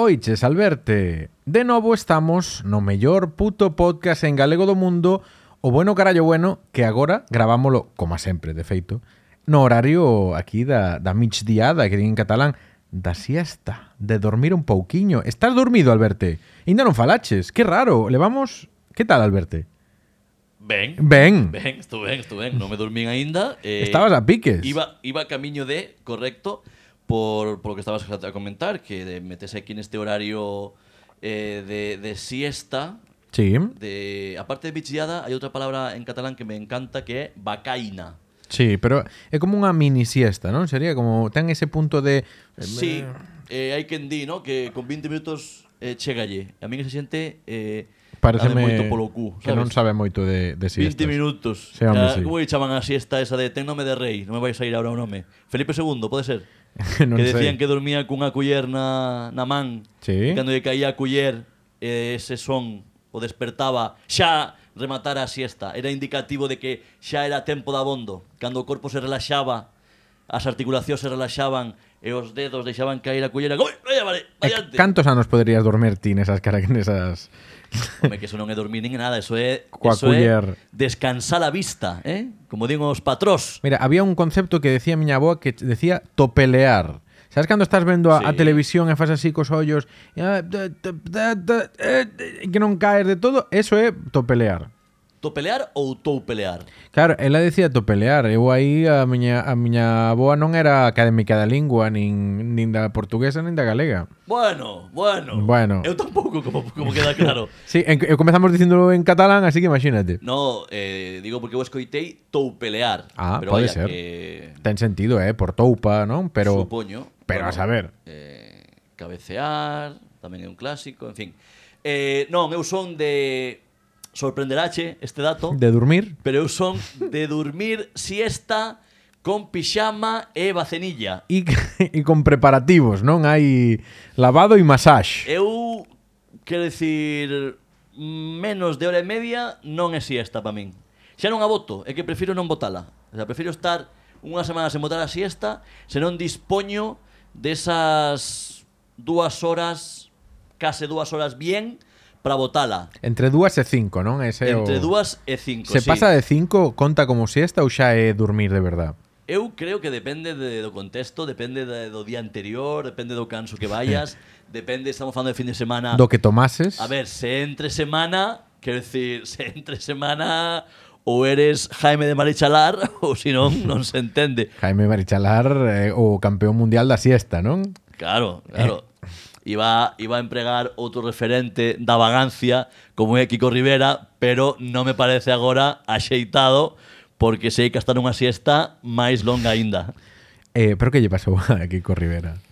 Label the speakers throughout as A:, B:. A: Oiches, Alberte, de novo estamos no mellor puto podcast en galego do mundo O bueno carallo bueno, que agora gravámolo, como sempre, de feito No horario aquí da, da michdiada, que din en catalán Da siesta, de dormir un pouquiño Estás dormido, Alberte? Ainda non falaches, que raro, levamos... Que tal, Alberte?
B: Ben.
A: Ben.
B: Ben, estou ben, estou ben. Non me dormín aínda. Eh,
A: Estabas a piques
B: Iba, iba camiño de, correcto, por, por lo que estabas a comentar, que de meterse aquí neste horario eh, de, de siesta,
A: Sí,
B: de, aparte de bichillada, hai outra palabra en catalán que me encanta que é bacaina.
A: sí, pero é como unha mini siesta, non? Sería como, ten ese punto de...
B: Sí, eh, hai quen di, no? Que con 20 minutos eh, chegalle. A min esa xente eh,
A: Pareceme
B: dame moito polo cu,
A: que non sabe
B: sabes?
A: moito de, de
B: 20
A: siestas.
B: minutos.
A: Sí, hombre,
B: Ya,
A: sí.
B: Como lle chaman a siesta esa de ten nome de rei? Non me vais a ir ahora o nome. Felipe II, pode ser?
A: Non
B: que
A: sei.
B: decían que dormía cunha culler na, na man.
A: Sí.
B: E cando lle caía a culler, eh, ese son o despertaba xa rematara a siesta. Era indicativo de que xa era tempo de abondo. Cando o corpo se relaxaba, as articulacións se relaxaban e os dedos deixaban caer a cullera. Como, vaya, vale,
A: E
B: vaya, ante.
A: cantos anos poderías dormir ti nesas cara nesas
B: Home, que eso non é dormir nin é nada, eso é,
A: Coa
B: eso
A: culler.
B: é descansar a vista, eh? Como din os patrós.
A: Mira, había un concepto que decía miña aboa que decía topelear. Sabes cando estás vendo a, a
B: Sí.
A: televisión e fas así cos ollos e, ah, da, da, da, da, eh, que non caes de todo, eso é topelear.
B: Topelear ou toupelear?
A: Claro, ela decía topelear. Eu aí a miña a miña aboa non era académica da lingua nin nin da portuguesa nin da galega.
B: Bueno, bueno.
A: Bueno.
B: Eu tampouco, como, como queda claro.
A: Sí, en, eu comezamos dicíndolo en catalán, así que imagínate.
B: No, eh, digo porque eu escoitei toupelear.
A: Ah,
B: pero
A: pode
B: vaya,
A: ser.
B: Que,
A: Ten sentido, eh, por toupa, non? Pero
B: supoño.
A: pero a saber.
B: Eh, cabecear, tamén é un clásico, en fin. Eh, non, eu son de... Sorprenderache este dato,
A: de dormir
B: pero eu son de dormir siesta con pixama e bacenilla.
A: e, e con preparativos, non? Hai lavado e masaxe.
B: Eu, quero dicir, menos de hora e media non é siesta para min. Xa non a voto, é que prefiro non votala. O sea, prefiro estar unha semana sen votar a siesta, se non dispoño desas dúas horas, case dúas horas bien, para votala.
A: Entre dúas e cinco, non? Ese é o...
B: Entre dúas e cinco.
A: Se
B: sí.
A: pasa de cinco, conta como siesta ou xa é dormir de verdad?
B: Eu creo que depende de, do contexto, depende de, do día anterior, depende do canso que vayas, depende, estamos falando de fin de semana,
A: Do que tomases?
B: Ah. A ver, se entre semana, quero decir, se entre semana ou eres Jaime de Marichalar ou se non, non se entende.
A: Jaime Marichalar, eh, o campeón mundial da siesta, non?
B: Claro, claro.
A: Eh.
B: Iba, iba a empregar outro referente da vagancia como é Kiko Rivera, pero non me parece agora axeitado porque sei que hasta nunha siesta máis longa aínda.
A: Eh, pero que lle pasou a Kiko Rivera?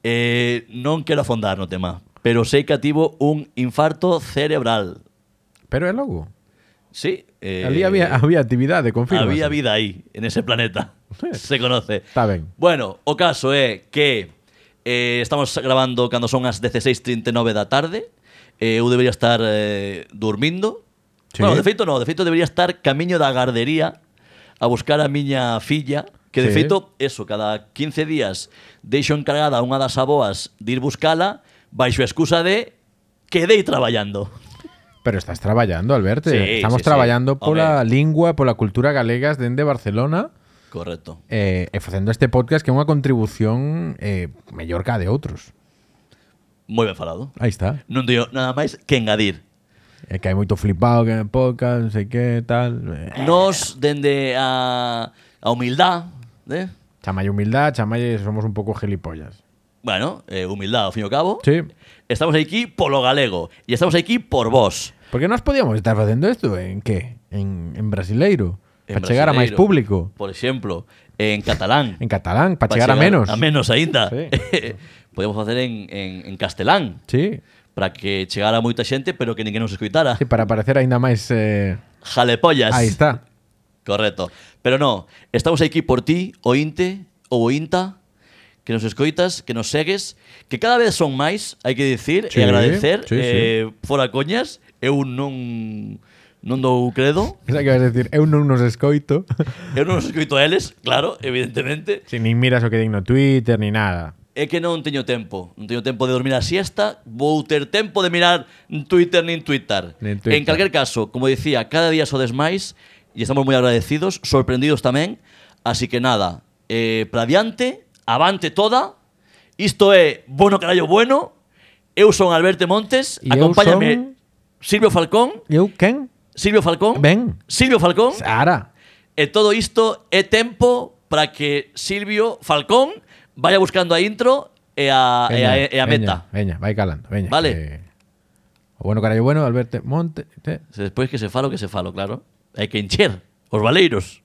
B: Eh, non quero afondar no tema, pero sei que ativo un infarto cerebral.
A: Pero é logo.
B: Sí, eh,
A: Ali había, había actividade, confirma.
B: Había vida ahí, en ese planeta. Se conoce.
A: Está ben.
B: Bueno, o caso é que eh, estamos grabando cando son as 16.39 da tarde. Eh, eu debería estar eh, dormindo.
A: Sí.
B: Bueno, de feito non, de feito debería estar camiño da gardería a buscar a miña filla, que de
A: Sí.
B: feito, eso, cada 15 días deixo encargada unha das aboas de ir buscala baixo a excusa de quedei traballando.
A: Pero estás traballando, Alberto.
B: Sí,
A: Estamos
B: sí, sí.
A: traballando pola
B: Home.
A: lingua, pola cultura galegas dende Barcelona.
B: Correcto.
A: eh, e facendo este podcast que é unha contribución eh, mellor ca de outros.
B: Moi ben falado.
A: Aí está.
B: Non digo nada máis que engadir.
A: É que hai moito flipado que é podcast, non sei que, tal... Eh.
B: Nos, dende a, a humildad, eh?
A: Chamalle humildade, chamalle somos un pouco gilipollas.
B: bueno, eh, humildad ao fin e ao cabo,
A: Sí.
B: estamos aquí polo galego e estamos aquí por vos.
A: Porque nós podíamos estar facendo isto en que? En, en brasileiro.
B: En
A: Para chegar a máis
B: brasileiro,
A: público.
B: Por exemplo, en catalán.
A: En catalán, para chegar, a menos.
B: A menos aínda.
A: Sí.
B: Podemos facer en, en, en castelán
A: Sí.
B: para que chegara moita xente, pero que ninguén nos escuitara.
A: sí, para parecer aínda máis... Eh...
B: Jalepollas.
A: Aí está.
B: Correcto. Pero no, estamos aquí por ti, ointe ou ointa, que nos escoitas, que nos segues, que cada vez son máis, hai que dicir,
A: Sí,
B: e agradecer,
A: sí, sí.
B: eh, fora coñas, eu non non dou credo,
A: Esa que vas a decir, eu non nos escoito.
B: eu non os escoito a eles, claro, evidentemente,
A: si nin miras o que din no Twitter, ni nada.
B: é que non teño tempo. Non teño tempo de dormir a siesta, vou ter tempo de mirar Twitter nin Twitter.
A: Nin Twitter.
B: En calquer caso, como dicía, cada día sodes máis e estamos moi agradecidos, sorprendidos tamén. Así que nada, eh, para diante, avante toda. Isto é Bono Carallo Bueno. Eu son Alberto Montes,
A: E eu
B: acompáñame
A: son-
B: Silvio Falcón,
A: Eu quen?
B: Silvio Falcón,
A: Ben.
B: Silvio Falcón.
A: Sara.
B: E todo isto é tempo para que Silvio Falcón vaya buscando a intro e a, e a, e a meta.
A: Veña, vai calando, veña.
B: Vale.
A: que- O bueno, carallo bueno, Alberto Monte. te-
B: Se Despois que se falo, que se falo, claro. Hai que encher os valeiros.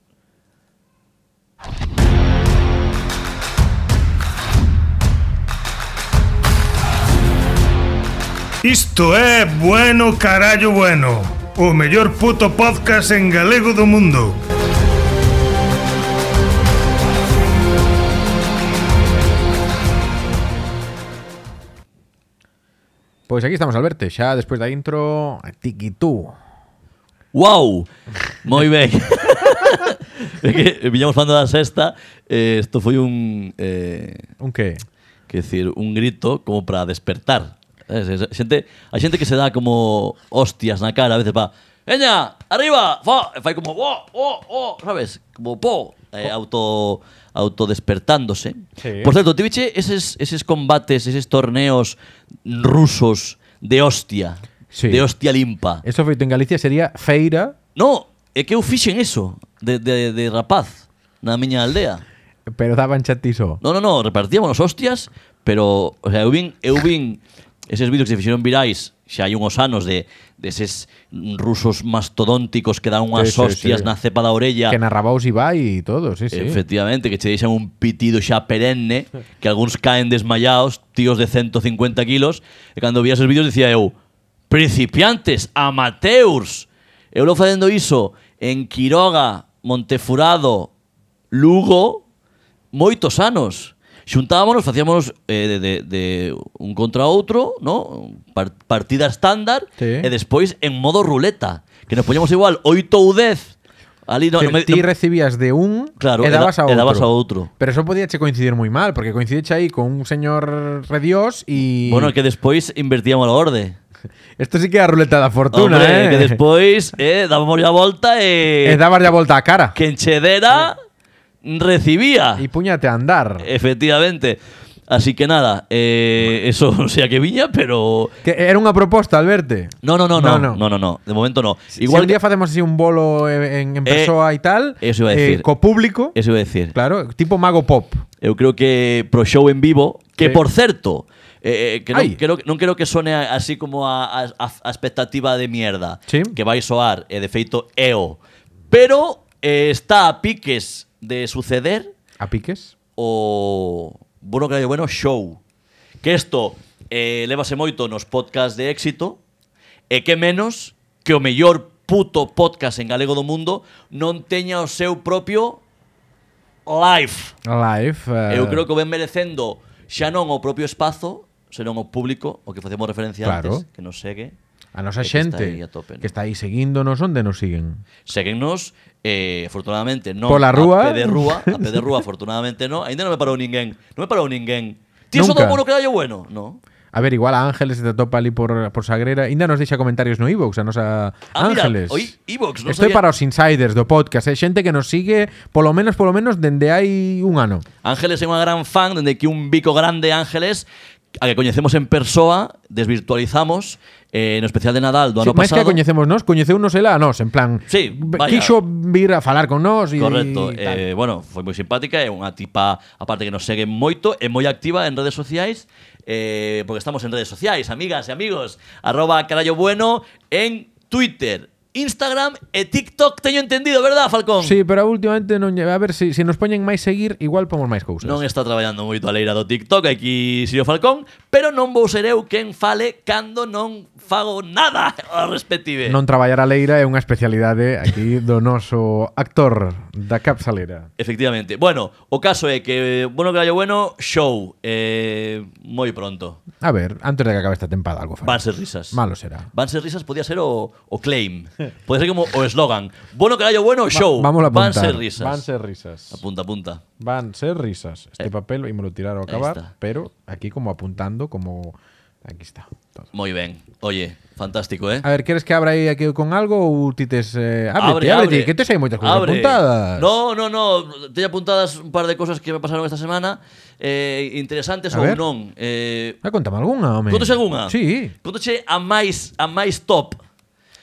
C: Isto é Bueno Carallo Bueno O mellor puto podcast en galego do mundo
A: Pois pues aquí estamos, Alberto, xa despois da intro, a tiki tú.
B: Wow, moi ben. é que eh, viñamos falando da sexta, eh, isto foi un eh,
A: Un que?
B: que decir, un grito como para despertar. Es, es, xente, a xente que se dá como hostias na cara a veces para Veña, arriba, fa, e fai como oh, oh, oh, sabes? Como po, eh, auto autodespertándose.
A: Sí.
B: Por certo, tiviche eses, eses combates, eses torneos rusos de hostia,
A: Sí.
B: de hostia limpa.
A: Eso feito en Galicia sería feira,
B: No, é que eu fixen eso de, de, de rapaz na miña aldea.
A: pero daban chatizo.
B: No, no, no, repartíamos hostias, pero, o sea, eu vin, eu vin eses vídeos que se fixeron virais xa hai unhos anos de deses rusos mastodónticos que dan unhas
A: Sí, sí, sí.
B: hostias na cepa da orella.
A: Que narraba os Ibai e todo, sí, sí.
B: Efectivamente, que che deixan un pitido xa perenne, que algúns caen desmayados, tíos de 150 kilos, e cando vi esos vídeos dicía eu, principiantes, amateurs. Eu lo facendo iso en Quiroga, Montefurado, Lugo, moitos anos. Xuntámonos, facíamos eh, de, de, de un contra outro, no? Par- partida estándar,
A: Sí.
B: e despois en modo ruleta, que nos poñamos igual 8 ou 10. Ali, no,
A: Que
B: no me-
A: ti
B: no-
A: recibías de un
B: Claro,
A: e
B: e da-
A: dabas a
B: e
A: outro.
B: dabas a outro.
A: Pero eso podía che coincidir moi mal, porque coincideche aí con un señor rediós e...
B: Bueno, que despois invertíamos a orde.
A: Esto sí que é a ruleta da fortuna,
B: Hombre,
A: eh?
B: que despois eh, dábamos a volta e...
A: E dabas a volta á cara.
B: Que enchedera recibía.
A: E puñate a
B: Eh,
A: andar.
B: Efectivamente. Así que nada, eh, eso no sé a qué viña, pero...
A: Que era unha proposta, Alberto.
B: No, no, no,
A: No, no.
B: no, no, no, no, de momento no.
A: Igual si un
B: que-
A: día facemos así un bolo eh, en, en
B: Eh,
A: persoa e tal,
B: eso iba a decir.
A: co público,
B: Eso iba a decir.
A: claro, tipo mago pop.
B: Eu creo que pro show en vivo,
A: Sí.
B: que por certo, eh, eh, que non
A: Ai.
B: creo, non creo que sone a- así como a, a, a- a expectativa de mierda
A: Sí.
B: que vai soar, e de feito EO, pero eh, está a piques de suceder
A: A piques.
B: o bueno, claro, bueno, show. Que isto eh, levase moito nos podcast de éxito e que menos que o mellor puto podcast en galego do mundo non teña o seu propio live.
A: Live. eh,
B: Eu creo que o ven merecendo xa non o propio espazo, senón o público, o que facemos referencia
A: Claro.
B: antes, que nos segue.
A: A nosa
B: é que está
A: xente
B: aí a tope, non?
A: que está aí seguíndonos onde nos siguen.
B: Seguennos, eh, afortunadamente, non
A: Pola rúa.
B: a pé de rúa, a pé de rúa, afortunadamente non. Ainda non me parou ninguén, non me parou ninguén. Ti eso
A: Nunca.
B: do bueno que dallo bueno, no?
A: A ver, igual a Ángeles se te topa ali por, por Sagrera. Ainda nos deixa comentarios no iVoox, a nosa
B: Ah, mira,
A: Ángeles.
B: oi, iVoox, non
A: Estoy
B: sabía.
A: para os insiders do podcast, é xente que nos sigue polo menos, polo menos, dende hai un ano.
B: Ángeles é unha gran fan, dende que un bico grande Ángeles, a que coñecemos en persoa, desvirtualizamos, eh, no especial de Nadal do ano
A: máis que a
B: pasado.
A: coñecemos nos, coñeceunos ela a nos, en plan,
B: Sí, vaya.
A: quixo vir a falar con nós e
B: Correcto,
A: e tal.
B: eh, bueno, foi moi simpática, é unha tipa aparte que nos segue moito, é moi activa en redes sociais, eh, porque estamos en redes sociais, amigas e amigos, arroba carallo bueno en Twitter, Instagram e TikTok, teño entendido, verdad, Falcón?
A: Sí, pero últimamente non lle- a ver se si, nos poñen máis seguir, igual pomos máis cousas.
B: Non está traballando moito a leira do TikTok aquí Sirio Falcón, pero non vou ser eu quen fale cando non fago nada ao respective.
A: Non traballar a leira é unha especialidade aquí do noso actor da capsalera.
B: Efectivamente. Bueno, o caso é que bueno que gallo bueno, show eh, moi pronto.
A: A ver, antes de que acabe esta tempada algo fará.
B: Van ser risas.
A: Malo será.
B: Van ser risas podía ser o, o claim. Pode ser como o eslogan. Bueno, carallo, bueno, show.
A: Vamos a
B: Van
A: apuntar.
B: ser risas.
A: Van ser risas.
B: Apunta, apunta.
A: Van ser risas. Este papel me lo tiraron a
B: Eh. ahí
A: acabar,
B: está.
A: pero aquí como apuntando, como... Aquí está. todo.
B: Moi ben. Oye, fantástico, eh?
A: A ver, queres que abra aí aquí con algo ou ti tes... Eh, ábrete,
B: Abre,
A: ábrete,
B: abre.
A: que tes aí moitas cousas
B: Abre.
A: apuntadas.
B: No, no, no. Teño apuntadas un par de cosas que me pasaron esta semana. Eh, interesantes
A: A
B: ou
A: ver.
B: non. Eh,
A: Ah, contame algunha, home.
B: Contoche algunha?
A: Sí.
B: Contoche a máis a máis top.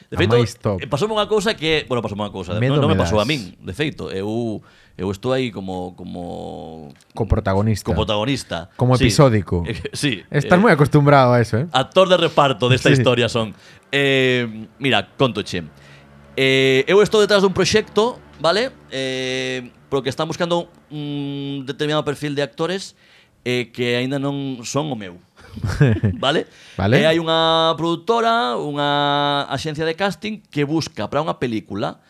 B: De
A: A
B: feito,
A: máis top.
B: eh, pasoume unha cousa que, bueno, pasoume unha cousa,
A: Medo
B: non, non me
A: me
B: pasou a
A: das.
B: min, de feito, eu eu estou aí como como
A: Co protagonista.
B: como protagonista.
A: Como episódico.
B: sí.
A: Estás
B: eh, Ah.
A: moi acostumbrado a eso, eh?
B: actor de reparto desta
A: Sí.
B: historia son. Eh, mira, contoche. Eh, eu estou detrás dun proxecto, vale? Eh, porque están buscando un determinado perfil de actores eh, que aínda non son o meu. vale?
A: Vale.
B: E hai unha produtora, unha axencia de casting que busca para unha película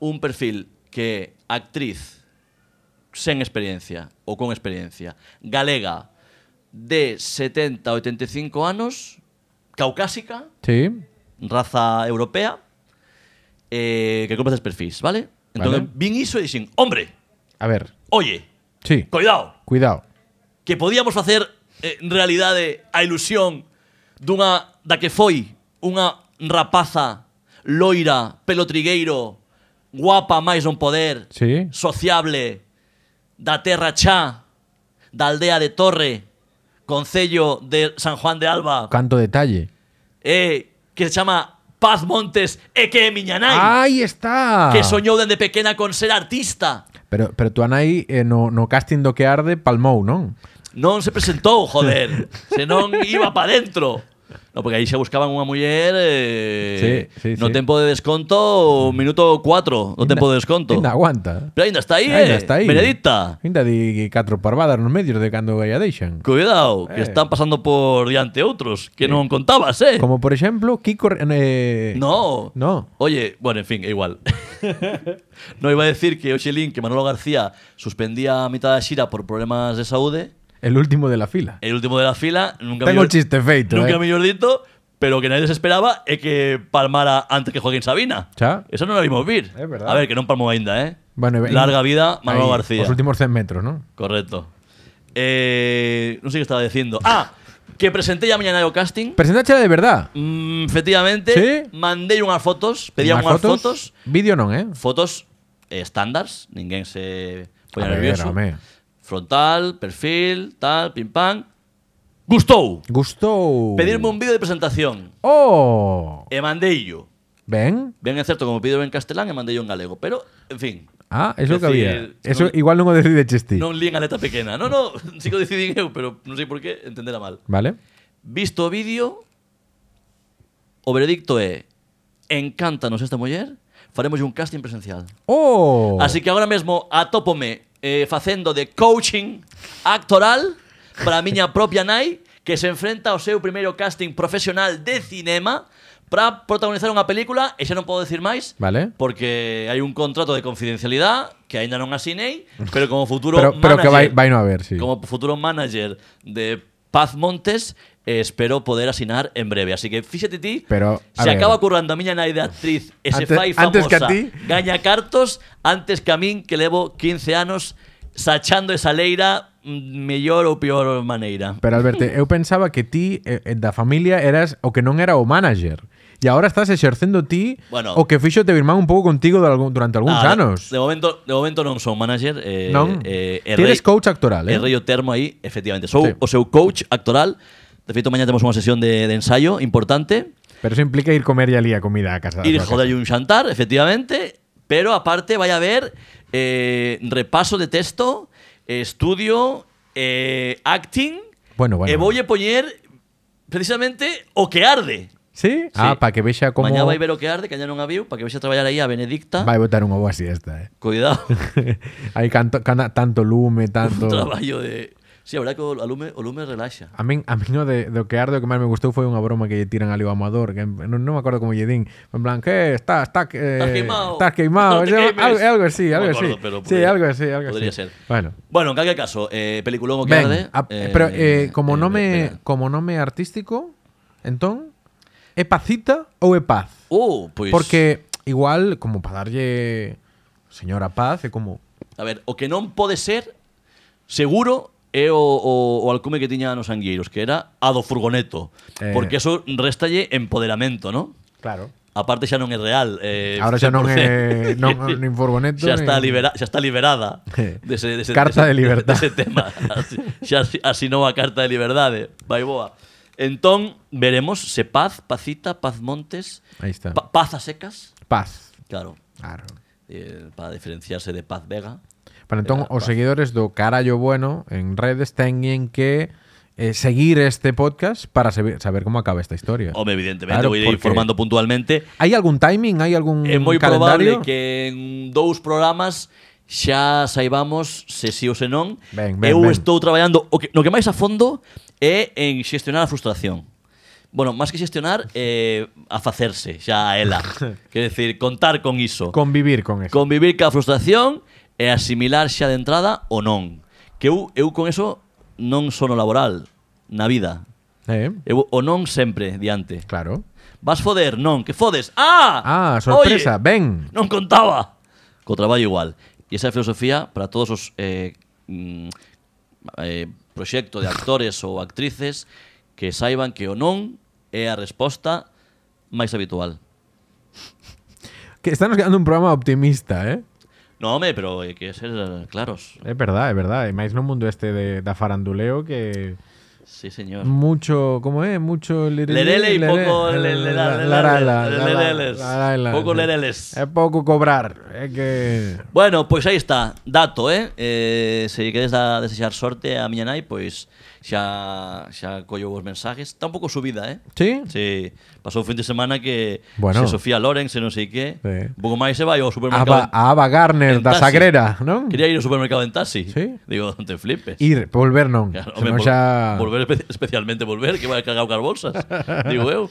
B: un perfil que é actriz sen experiencia ou con experiencia, galega de 70 a 85 anos, caucásica,
A: Sí.
B: raza europea, eh, que compras perfis, vale? Entón,
A: Vale.
B: vale. vin iso e dixen, hombre,
A: A ver,
B: oye,
A: sí.
B: cuidado,
A: Cuidado.
B: que podíamos facer eh, en realidade a ilusión dunha da que foi unha rapaza loira, pelotrigueiro, guapa máis non poder,
A: Sí.
B: sociable, da terra chá, da aldea de Torre, concello de San Juan de Alba,
A: Canto detalle.
B: eh, que se chama Paz Montes e que é miña nai,
A: Aí está.
B: que soñou dende pequena con ser artista.
A: Pero, pero tú anai eh, no, no casting do que arde palmou, non?
B: Non se presentou, joder. se non iba para dentro. No, porque aí xa buscaban unha muller eh,
A: Sí, sí,
B: no
A: sí.
B: tempo de desconto, minuto 4, no tempo de desconto.
A: Ainda aguanta.
B: Pero ainda está aí,
A: Ainda
B: eh.
A: está aí.
B: Benedicta.
A: Ainda di catro parvadas nos medios de cando a deixan.
B: Cuidado, que
A: Eh.
B: están pasando por diante outros que non contabas, eh.
A: Como por exemplo, Kiko... Re- Eh,
B: No.
A: No.
B: Oye, bueno, en fin, é igual. no iba a decir que Oxelín, que Manolo García suspendía a mitad da xira por problemas de saúde,
A: El último de la fila.
B: el último de la fila, nunca
A: Tengo
B: mellor-
A: el chiste feito,
B: Nunca
A: eh.
B: mellor dito, pero que nadie se esperaba é que palmara antes que Joaquín Sabina.
A: Xa.
B: Eso non lo vimos vir.
A: É verdad.
B: A ver, que non palmou aínda, eh.
A: Bueno, e-
B: Larga vida, Manolo
A: Aí,
B: García.
A: Os últimos 100 metros, non?
B: Correcto. Eh, non sei que estaba dicindo. Ah, que presenté a mañana o casting.
A: Presentáchela de verdad.
B: Mm, efectivamente,
A: Sí.
B: mandei unhas fotos, pedí
A: Unhas
B: unhas fotos,
A: Vídeo non, eh?
B: fotos eh, estándars, ninguén
A: A
B: se poña
A: ver,
B: Pues nervioso.
A: home.
B: Frontal, perfil, tal, pim pam. Gustou.
A: Gustou.
B: Pedirme un vídeo de presentación
A: Oh.
B: e mandeillo.
A: Ben?
B: Ben é certo como pido en castelán e mandeillo en galego, pero en fin,
A: Ah, eso
B: Decir,
A: que había. Eso
B: non-
A: igual non o decides ti.
B: non lín a letra pequena. No, no, sí que o decidín eu, pero non sei por qué, entendera mal.
A: Vale?
B: Visto o vídeo, o veredicto é encántanos esta muller, faremos un casting presencial.
A: Oh.
B: Así que agora mesmo atópome eh, facendo de coaching actoral para a miña propia nai que se enfrenta ao seu primeiro casting profesional de cinema para protagonizar unha película e xa non podo decir máis
A: Vale.
B: porque hai un contrato de confidencialidad que aínda non asinei pero como futuro
A: Pero, pero que vai,
B: manager
A: vai non haber, sí.
B: como futuro manager de Paz Montes eh, espero poder asinar en breve así que fíxate ti
A: Pero, a
B: se
A: ver.
B: acaba currando a miña nai de actriz e se
A: Antes-
B: fai
A: antes
B: famosa
A: que a ti.
B: gaña cartos antes que a min que levo 15 anos sachando esa leira mm, mellor ou peor maneira
A: Pero Alberto, eu pensaba que ti eh, eh, da familia eras o que non era o manager. E agora estás exercendo ti
B: Bueno.
A: o que fixo te birman un pouco contigo de algún- durante algúns
B: Ah, de-
A: anos.
B: De momento, de momento non son manager. Eh,
A: Non?
B: Eh,
A: Ti eres coach actoral, eh?
B: E rei o termo aí, efectivamente. Sou
A: Sí.
B: o seu coach actoral. De feito, mañá temos unha sesión de, de ensayo importante.
A: Pero eso implica ir comer e ali a comida a casa. da
B: Ir
A: tua
B: joder
A: casa.
B: un xantar, efectivamente. Pero aparte vai haber eh, repaso de texto, eh, estudio, eh, acting.
A: Bueno, bueno.
B: E voulle poñer precisamente o que arde.
A: Sí?
B: Sí.
A: Ah, para que vexa como...
B: Mañá vai ver o que arde, que añá non a viu, para que vexe traballar aí a Benedicta.
A: Vai botar unha boa siesta, eh.
B: Cuidado.
A: Hai canto, cana- tanto lume,
B: Un
A: tanto...
B: traballo de... Sí, a verdad que o lume, o lume relaxa.
A: A min, a min o de, do que arde o que máis me gustou foi unha broma que lle tiran ali ao amador, que en- non, non me acordo como lle din. En plan, que está, está, eh,
B: Estás queimado.
A: Estás queimado.
B: No te
A: Eso,
B: queimes.
A: algo, algo así,
B: No
A: algo
B: me acordo,
A: así.
B: pero
A: sí,
B: podría-
A: algo así, algo
B: podría
A: así.
B: ser.
A: Bueno.
B: Bueno, en cualquier caso, eh, peliculón o que
A: Ben,
B: arde,
A: a-
B: eh,
A: pero eh, como
B: eh,
A: nome
B: venga.
A: como nome artístico, entón, é pacita ou é paz?
B: Uh, pois
A: Porque igual como para darlle señora paz e como
B: A ver, o que non pode ser seguro é o, o, o alcume que tiña nos angueiros, que era a do furgoneto,
A: Eh.
B: porque eso réstalle empoderamento, ¿no?
A: claro.
B: Aparte xa non é real. Eh,
A: Ahora xa non
B: 100%.
A: é non, nin furgoneto.
B: Xa está,
A: nin- Eh,
B: libera, xa está liberada dese, dese,
A: Carta
B: dese-
A: de libertad.
B: dese tema Así- Xa asi- asinou a carta de liberdade Vai boa Entón, veremos se Paz, Pacita, Paz Montes
A: Aí está.
B: pa- Paz a secas
A: Paz.
B: Claro,
A: Claro.
B: eh, para diferenciarse de Paz Vega
A: Pero entón,
B: Era
A: os
B: paz.
A: seguidores do Carallo Bueno en redes teñen que eh, seguir este podcast para saber, saber como acaba esta historia.
B: Home, evidentemente,
A: Claro,
B: claro, vou ir
A: porque-
B: informando puntualmente
A: Hai algún timing? Hai algún
B: É moi
A: calendario?
B: probable que en dous programas xa saibamos se si ou se non.
A: Ben, ben,
B: Eu
A: ben.
B: estou traballando o que, no que máis a fondo é en xestionar a frustración. Bueno, máis que xestionar, eh, a facerse xa a ela. Quer decir, contar con iso.
A: Convivir con eso.
B: Convivir ca frustración e asimilar xa de entrada o non. Que eu, eu con eso non sono laboral na vida.
A: Eh,
B: Eu, o non sempre diante.
A: claro.
B: Vas foder, non, que fodes.
A: Ah,
B: Ah!
A: sorpresa,
B: Oye,
A: ven.
B: non contaba. Co traballo igual. E esa é a filosofía para todos os eh, mm, eh, proxecto de actores ou actrices que saiban que o non é a resposta máis habitual.
A: Que estamos quedando un programa optimista, eh?
B: No, home, pero hai que ser claros.
A: É verdade, é verdade. E máis no mundo este de, da faranduleo que
B: Sí, señor.
A: mucho, como é? Mucho lere-
B: Lerele y poco
A: lere-
B: le- le-
A: la-
B: la- le-
A: la- la- la-
B: le- lereles.
A: la- la-
B: Poco lereles.
A: É pouco cobrar, é que
B: Bueno, pois aí está, dato, eh? eh se queres a desexar sorte a miña nai, pois xa xa collo vos mensajes. Está un pouco subida, eh?
A: Sí?
B: Sí, pasou o fin de semana que
A: Bueno.
B: se Sofía Loren, se non sei que,
A: Sí.
B: un pouco máis se vai
A: A Ava,
B: ao supermercado.
A: a Ava Garner
B: en
A: da
B: taxi.
A: Sagrera, non?
B: Quería ir ao supermercado en taxi.
A: Sí.
B: Digo, non te flipes.
A: Ir, volver non.
B: Claro,
A: Senón
B: home,
A: xa-
B: vol- volver espe- especialmente volver, que vai cargar car bolsas, digo eu.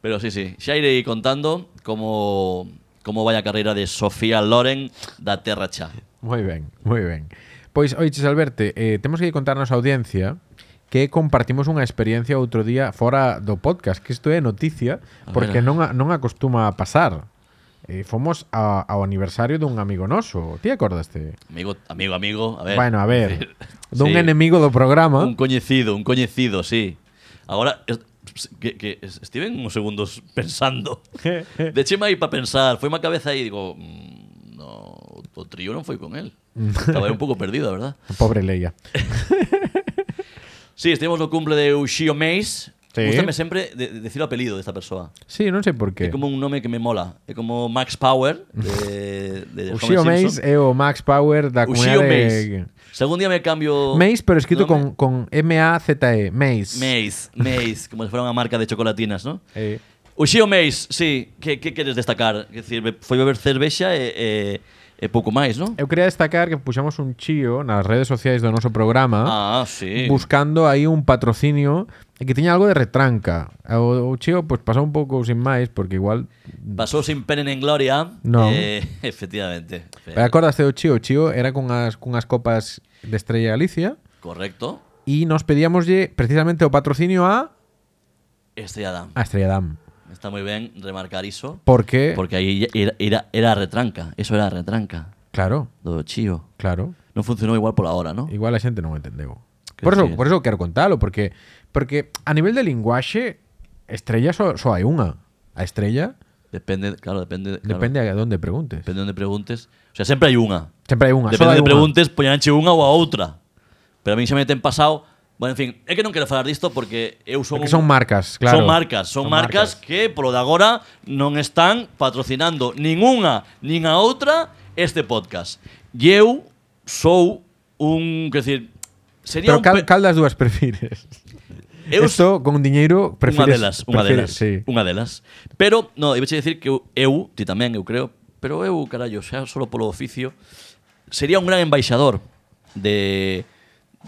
B: Pero sí, sí, xa irei contando como como vai a carreira de Sofía Loren da Terra Chá.
A: Moi ben, moi ben. Pois, oiches, Alberto, eh, temos que contarnos a audiencia que compartimos unha experiencia outro día fora do podcast, que isto é noticia,
B: A
A: porque
B: ver.
A: non, a- non acostuma a pasar. Eh, fomos a, ao aniversario dun amigo noso, ti acordaste?
B: Amigo, amigo, amigo, a ver.
A: Bueno, a ver, dun
B: Eh, Sí.
A: enemigo do programa.
B: Un coñecido, un coñecido, sí. Agora es- que, que es- estiven uns segundos pensando. Decheme aí para pensar, foi má cabeza aí e digo, mm, no, o trío non foi con él. Estaba aí un pouco perdido, a verdad?
A: Pobre Leia.
B: Sí, estivemos no cumple de Uxío Meis.
A: Sí.
B: Gústame sempre de, de decir o apelido desta persoa.
A: Sí, non sei por
B: É
A: qué.
B: como un nome que me mola. É como Max Power de, de
A: O
B: Homer
A: Xio Mace eh, é
B: Simpson.
A: o Max Power da
B: Uxío
A: comunidade...
B: Meis. Se algún día me cambio...
A: Mace, pero escrito
B: nome-
A: con, con M-A-Z-E. E, Mace.
B: Mace, Mace, como se fuera unha marca de chocolatinas, ¿no?
A: Eh,
B: O Xio Meis, sí, que, que queres destacar? Quer Decir, be- foi beber cervexa e, e, e pouco máis, non?
A: Eu quería destacar que puxamos un chío nas redes sociais do noso programa
B: Ah, sí.
A: buscando aí un patrocinio e que tiña algo de retranca. O, o chío pues, pasou un pouco sin máis porque igual...
B: Pasou sin penen en gloria.
A: Non.
B: Eh, efectivamente. Fe-
A: Pero acordaste do chío? O chío era cunhas, cunhas copas de Estrella Galicia
B: Correcto.
A: e nos pedíamoslle precisamente o patrocinio a,
B: Estrellada.
A: a Estrella Damm.
B: Está moi ben remarcar iso.
A: Porque,
B: Porque aí era, era, era a retranca. Eso era a retranca
A: claro,
B: do Chío.
A: claro,
B: Non funcionou igual pola hora, non?
A: igual a xente non o entendeu.
B: Que
A: Por eso,
B: sí.
A: por eso quero contalo, porque porque a nivel de linguaxe, estrella só, só hai unha. A estrella
B: Depende, claro, depende. Claro,
A: depende a onde preguntes.
B: Depende onde preguntes. O sea, sempre hai unha.
A: Sempre hai unha. só
B: Depende
A: hai
B: de
A: unha.
B: preguntes, poñanche unha ou a outra. Pero a mí xa me ten pasado... Bueno, en fin, é que non quero falar disto porque eu son...
A: Porque
B: un-
A: son marcas, claro.
B: Son marcas, son, marcas, que polo de agora non están patrocinando ningunha nin a outra este podcast. E eu sou un, quer decir, sería
A: Pero
B: un
A: cal,
B: pe-
A: cal das dúas prefires?
B: eu
A: Esto, con diñeiro,
B: Unha
A: prefires...
B: delas, unha
A: prefires-
B: delas,
A: Sí.
B: unha delas. Pero, no, iba a dicir que eu, eu, ti tamén, eu creo, pero eu, carallo, xa solo polo oficio, sería un gran embaixador de,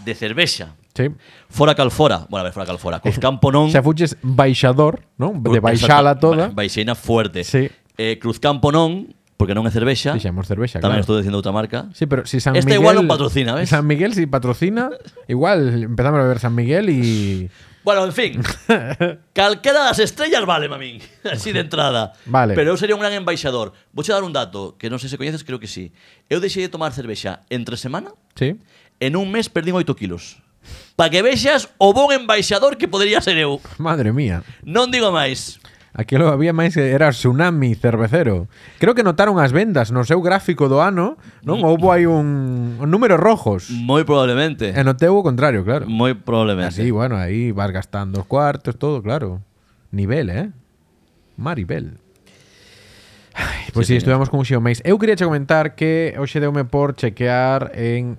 B: de cervexa.
A: Sí.
B: Fora calfora, bueno, a ver, fora calfora, cos campo non...
A: Xa fuches baixador, non? De
B: Exacto,
A: baixala toda.
B: ba- Baixeina fuerte.
A: Sí.
B: Eh, Cruzcampo non, porque non é cervexa.
A: Dixemos cervexa, claro.
B: Tamén estou dicindo outra marca.
A: Sí, pero si San
B: Esta
A: Miguel...
B: igual non patrocina, ves?
A: San Miguel si patrocina, igual empezamos a beber San Miguel y...
B: Bueno, en fin. Calquera das estrellas vale, mamín. Así de entrada.
A: Vale.
B: Pero eu sería un gran embaixador. Vou dar un dato que non sei se coñeces, creo que sí. Eu deixei de tomar cervexa entre semana
A: Sí.
B: en un mes perdín 8 kilos. Para que vexas o bon embaixador que podería ser eu.
A: Madre mía.
B: Non digo máis.
A: Aquí lo había máis era tsunami cervecero. Creo que notaron as vendas no seu gráfico do ano, non? Houbo aí un, un números rojos.
B: Moi probablemente.
A: E no teu o contrario, claro.
B: Moi
A: Así,
B: probablemente.
A: bueno, aí vas gastando os cuartos, todo, claro. Nivel, eh? Maribel. Ai, pois si, sí,
B: Sí, señor.
A: estuvemos con un xeo máis. Eu quería che comentar que hoxe deume por chequear en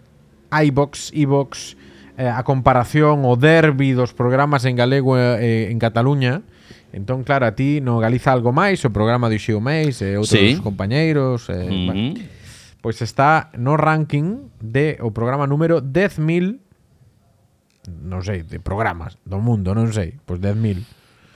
A: iBox, iBox, eh, a comparación o derbi dos programas en galego e eh, en Cataluña. Entón, claro, a ti no Galiza algo máis, o programa de Xeo Meis e outros
B: Sí.
A: compañeiros. Eh,
B: Mhm.
A: bueno, Pois pues está no ranking de o programa número 10.000 non sei, de programas do mundo, pues non sei, pois 10.000.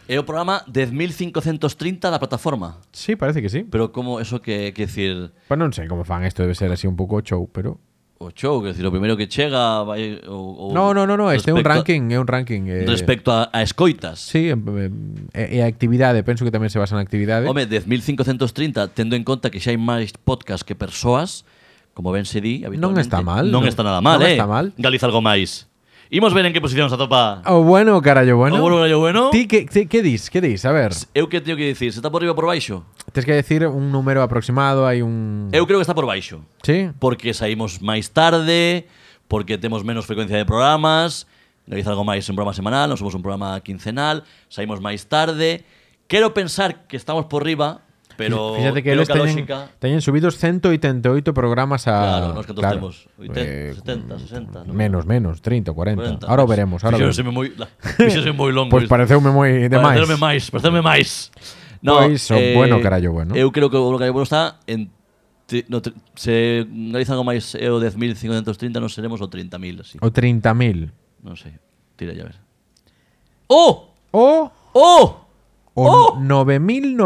B: É o programa 10.530 da plataforma.
A: Sí, parece que sí.
B: Pero como eso que, que decir,
A: Pois non sei como fan, isto debe ser así un pouco show, pero
B: o show, que decir, o primeiro que chega vai, o, o
A: No, no, no, no, este é un
B: Oh, respecto a-
A: ranking, é un ranking eh,
B: Respecto a, a escoitas.
A: Sí, em, em, e, e a actividade, penso que tamén se basa na actividade.
B: Home, 10.530, tendo en conta que xa hai máis podcast que persoas, como ben se di,
A: Non
B: habitualmente.
A: está mal,
B: Non
A: non-
B: está nada mal,
A: non
B: eh.
A: está mal.
B: Galiza algo máis. Imos ver en que posición se atopa.
A: O Oh, bueno, carallo, bueno.
B: O Oh, bueno, carallo, bueno.
A: Ti que ti, que dis? Que dis? A ver,
B: Eu que teño que dicir, se está por riba ou por baixo?
A: tens que decir un número aproximado, hai un
B: Eu creo que está por baixo.
A: Sí.
B: Porque saímos máis tarde, porque temos menos frecuencia de programas, realiza algo máis un programa semanal, non somos un programa quincenal, saímos máis tarde. Quero pensar que estamos por riba, pero
A: Fíjate que
B: creo
A: eles
B: que a
A: teñen,
B: lógica...
A: teñen subidos 188 programas a...
B: Claro, nos que todos
A: Ah, claro. Eh, Pues,
B: temos 80, 70, 60, ¿no?
A: Menos, menos, 30, 40.
B: 40.
A: Ahora o veremos, ahora o veremos. Pues
B: Fixéronse moi, la- fixéronse moi longo.
A: Pois pareceume moi demais.
B: Parecerme máis, parecerme máis. No, eh,
A: Pois, Pues, o bueno, carallo, bueno.
B: Eu creo que o carallo bueno está en tri- no, tri- se analiza algo máis é o 10.530, non seremos o 30.000, así.
A: O 30.000.
B: Non sei. Tira ya a ver. ¡Oh!
A: O,
B: ¡Oh!
A: o
B: Oh!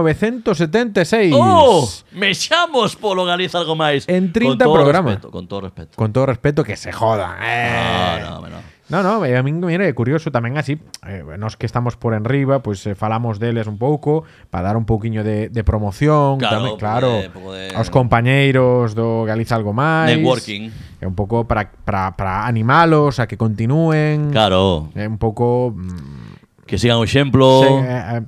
A: 9.976.
B: ¡Oh! Me chamos polo Galiza algo máis.
A: En
B: Con
A: 30
B: todo
A: programas.
B: respeto, con todo respeto. Ah,
A: Con todo respeto, que se jodan. eh.
B: No, no, no.
A: No, no, eh, a min mira, é curioso tamén así eh, Nos que estamos por enriba, pois eh, falamos deles un pouco Para dar un pouquiño de, de promoción
B: Claro,
A: tamén,
B: un pouco
A: claro
B: de- pouco de-
A: Aos compañeiros do Galiza Algo Máis
B: Networking.
A: É un pouco para, para, para animalos a que continúen
B: Claro,
A: É un pouco mm,
B: que sigan o exemplo.
A: Sí, eh, eh,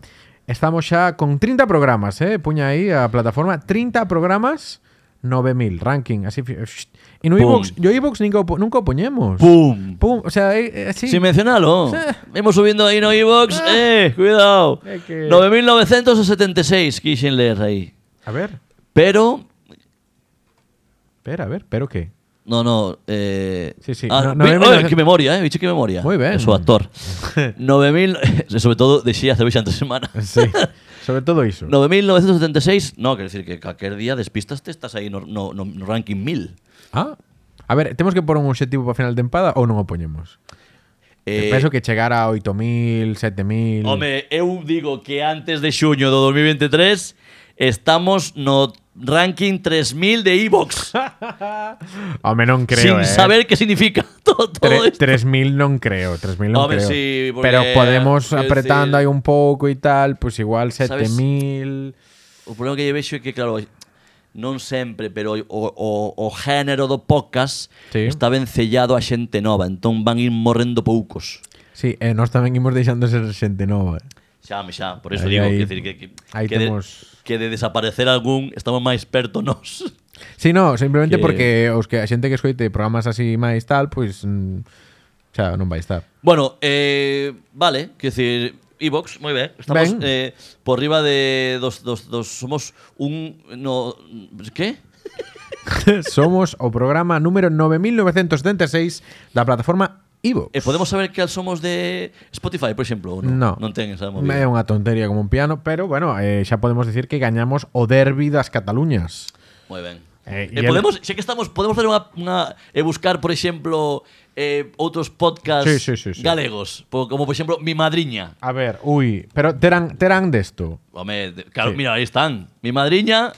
A: estamos ya con 30 programas, ¿eh? Puña ahí a plataforma. 30 programas, 9000. Ranking. Así. fi- shh. Y no
B: Pum.
A: iVoox- yo iVoox nunca, opo- nunca opoñemos.
B: Pum.
A: Pum, O sea, eh, eh, sí.
B: Sin mencionarlo.
A: Sí.
B: Hemos subiendo ahí no iVox. Eh, cuidado.
A: É que-
B: 9.976 quixen ler ahí.
A: A ver.
B: Pero
A: Espera, a ver. ¿Pero qué?
B: No, no. Eh,
A: Sí, sí,
B: Ah,
A: no-
B: vi-
A: 9.900.
B: ¡Ay, qué memoria, eh. Bicho, qué memoria.
A: Muy bien.
B: Es su actor. 9.000. Sobre todo de Shia Cerveza entre semana.
A: Sí. Sobre todo eso.
B: 9.976. No, quiero decir que cualquier día despistas te estás ahí no, no, no, no ranking 1000.
A: Ah. A ver, ¿tenemos que poner un objetivo para final de empada o no opoñemos?
B: Eh,
A: Penso que llegara a 8000, 7000.
B: Home, eu digo que antes de xuño do 2023 estamos no ranking 3000 de iVox.
A: Home, non creo,
B: sin
A: eh.
B: saber qué significa todo, todo
A: Tre-
B: esto.
A: 3000 non creo, 3000 non
B: Hombre,
A: creo.
B: sí, porque,
A: Pero podemos
B: quiero
A: apretando ahí
B: decir-
A: un poco y tal, pues igual
B: ¿Sabes?
A: 7000.
B: O problema que lle vexo é que, claro, non sempre, pero o, o, o género do podcast
A: Sí.
B: está vencellado a xente nova, entón van ir morrendo poucos.
A: Sí, eh, nos tamén imos deixando ser xente nova.
B: Xa, me xa, por eso
A: Aí,
B: digo
A: aí,
B: que, decir, que, que,
A: aí
B: que, de,
A: temos-
B: que de desaparecer algún estamos máis perto nós.
A: Sí, no, simplemente
B: Que-
A: porque os que a xente que escoite programas así máis tal, pues mm, xa non vai estar.
B: Bueno, eh, vale, que decir, Evox, moi ben. Estamos
A: Ben.
B: eh, por riba de dos, dos, dos somos un no que?
A: Somos o programa número 9976 da plataforma Ivo.
B: Eh, podemos saber que somos de Spotify, por exemplo, ou non?
A: No.
B: Non ten esa movida.
A: É unha tontería como un piano, pero bueno, eh, xa podemos decir que gañamos o derbi das Cataluñas.
B: Moi ben.
A: Eh,
B: Eh,
A: y el-
B: podemos, xa que estamos, podemos fazer unha, unha e buscar, por exemplo, eh, outros podcasts
A: Sí, sí, sí, sí.
B: galegos, po- como por exemplo Mi Madriña.
A: A ver, ui, pero terán terán desto.
B: Home, de-
A: Sí.
B: claro, mira, aí están. Mi Madriña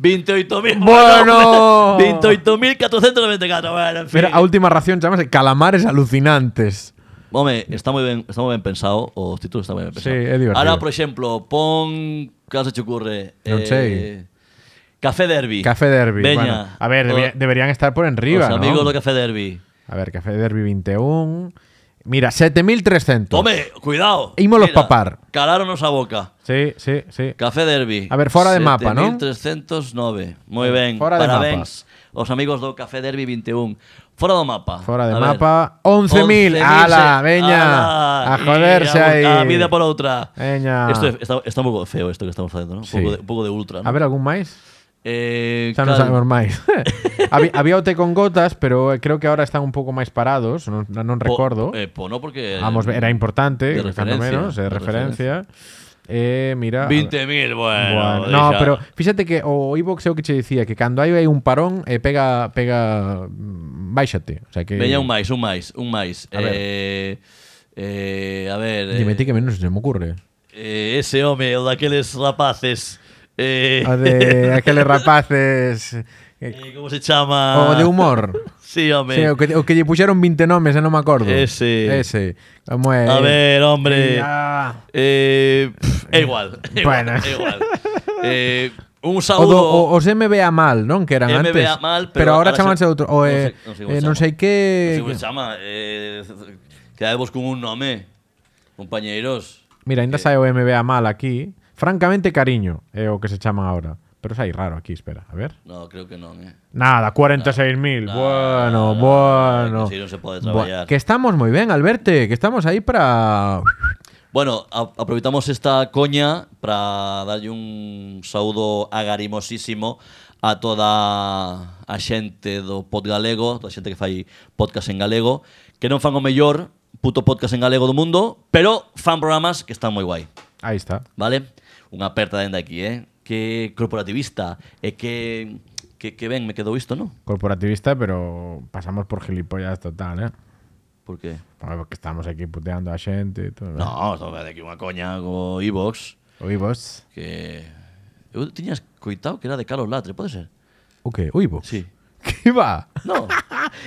B: 28.000.
A: Bueno.
B: 28.494. Bueno, en fin.
A: Mira, a última ración chamase calamares alucinantes.
B: Home, está moi ben, está moi ben pensado, o título está moi ben pensado.
A: Sí, é divertido.
B: Ahora, por exemplo, pon, que se te ocurre? Eh,
A: Non sei.
B: Café Derby.
A: Café Derby.
B: Veña.
A: bueno. a ver,
B: O-
A: debe- deberían estar por enriba.
B: Os
A: ¿no? Pues
B: amigos do Café Derby.
A: A ver, Café Derby 21. Mira, 7300.
B: Home, cuidado.
A: Ímolos
B: Mira,
A: papar.
B: Caláronos a boca.
A: Sí, sí, sí.
B: Café Derby.
A: A ver, fora de mapa, non?
B: 7309. Moi ben.
A: Fora de
B: Parabéns aos amigos do Café Derby 21. Fora do mapa.
A: Fora de
B: A
A: mapa, 11.000.
B: 11.000,
A: Ala,
B: se-
A: veña. A
B: ala,
A: joderse
B: e a-
A: aí.
B: A vida por outra.
A: Veña.
B: Esto é- está, está un pouco feo isto que estamos facendo, non? Un
A: Sí.
B: pouco de, un pouco de ultra, non?
A: A ver, algún máis?
B: Eh,
A: Xa non sabemos máis. Había, había o té con gotas, pero eh, creo que ahora están un pouco máis parados, non, non recordo.
B: Po, eh, po, no, porque...
A: Vamos, ver, era importante,
B: de
A: cando
B: referencia,
A: menos, eh,
B: de
A: referencia. Eh, mira, a ver.
B: 20.000, bueno.
A: Bueno, no,
B: deixa.
A: pero fíxate que o iVox é o que che dicía que cando hai aí un parón eh, pega pega mm, báixate, o sea que
B: Veña un máis, un máis, un máis.
A: A ver.
B: Eh, eh, a ver...
A: Dime
B: eh,
A: ti que menos se me ocurre.
B: Eh, ese home, o daqueles rapaces. Eh,
A: A de aqueles rapaces eh,
B: eh, como se chama?
A: o de humor.
B: Sí, home.
A: Sí, o, que, o que lle puxeron 20 nomes, eh, non me acordo.
B: Ese.
A: Ese. Como é?
B: A ver, hombre.
A: Ah,
B: Eh, pff, é igual. é igual,
A: Bueno.
B: é igual. Eh, un
A: o do, o,
B: saúdo.
A: os MBA mal, non? Que eran antes.
B: MBA mal, pero
A: ahora
B: ahora
A: chamanse
B: se-
A: outro. O,
B: non
A: eh,
B: sei- non sei como
A: eh, non sei que...
B: se chama. Non sei como se chama. Eh, quedadevos con un nome, compañeiros.
A: Mira, ainda sai o MBA mal aquí. Francamente cariño é o que se chama ahora. Pero sai raro aquí, espera, a ver.
B: No, creo que non, eh.
A: Nada, 46.000.
B: Nah,
A: bueno,
B: nah,
A: bueno.
B: que así non se pode
A: Bua-
B: traballar.
A: que estamos moi ben, Alberte, que estamos aí para
B: Bueno, a- aproveitamos esta coña para darlle un saúdo agarimosísimo a toda a xente do pod galego, toda a xente que fai podcast en galego, que non fan o mellor puto podcast en galego do mundo, pero fan programas que están moi guai,
A: Aí está.
B: vale? Unha aperta dende aquí, eh? Que corporativista e que que, que ben me quedou isto, non?
A: Corporativista, pero pasamos por gilipollas total, eh.
B: Porque
A: Bueno, Porque estamos aquí puteando a xente e todo.
B: no, estamos de aquí unha coña co iVox
A: Oivos.
B: que eu tiñas coitado que era de Carlos Latre, pode ser?
A: O que? Oivos.
B: Sí.
A: Que va?
B: No,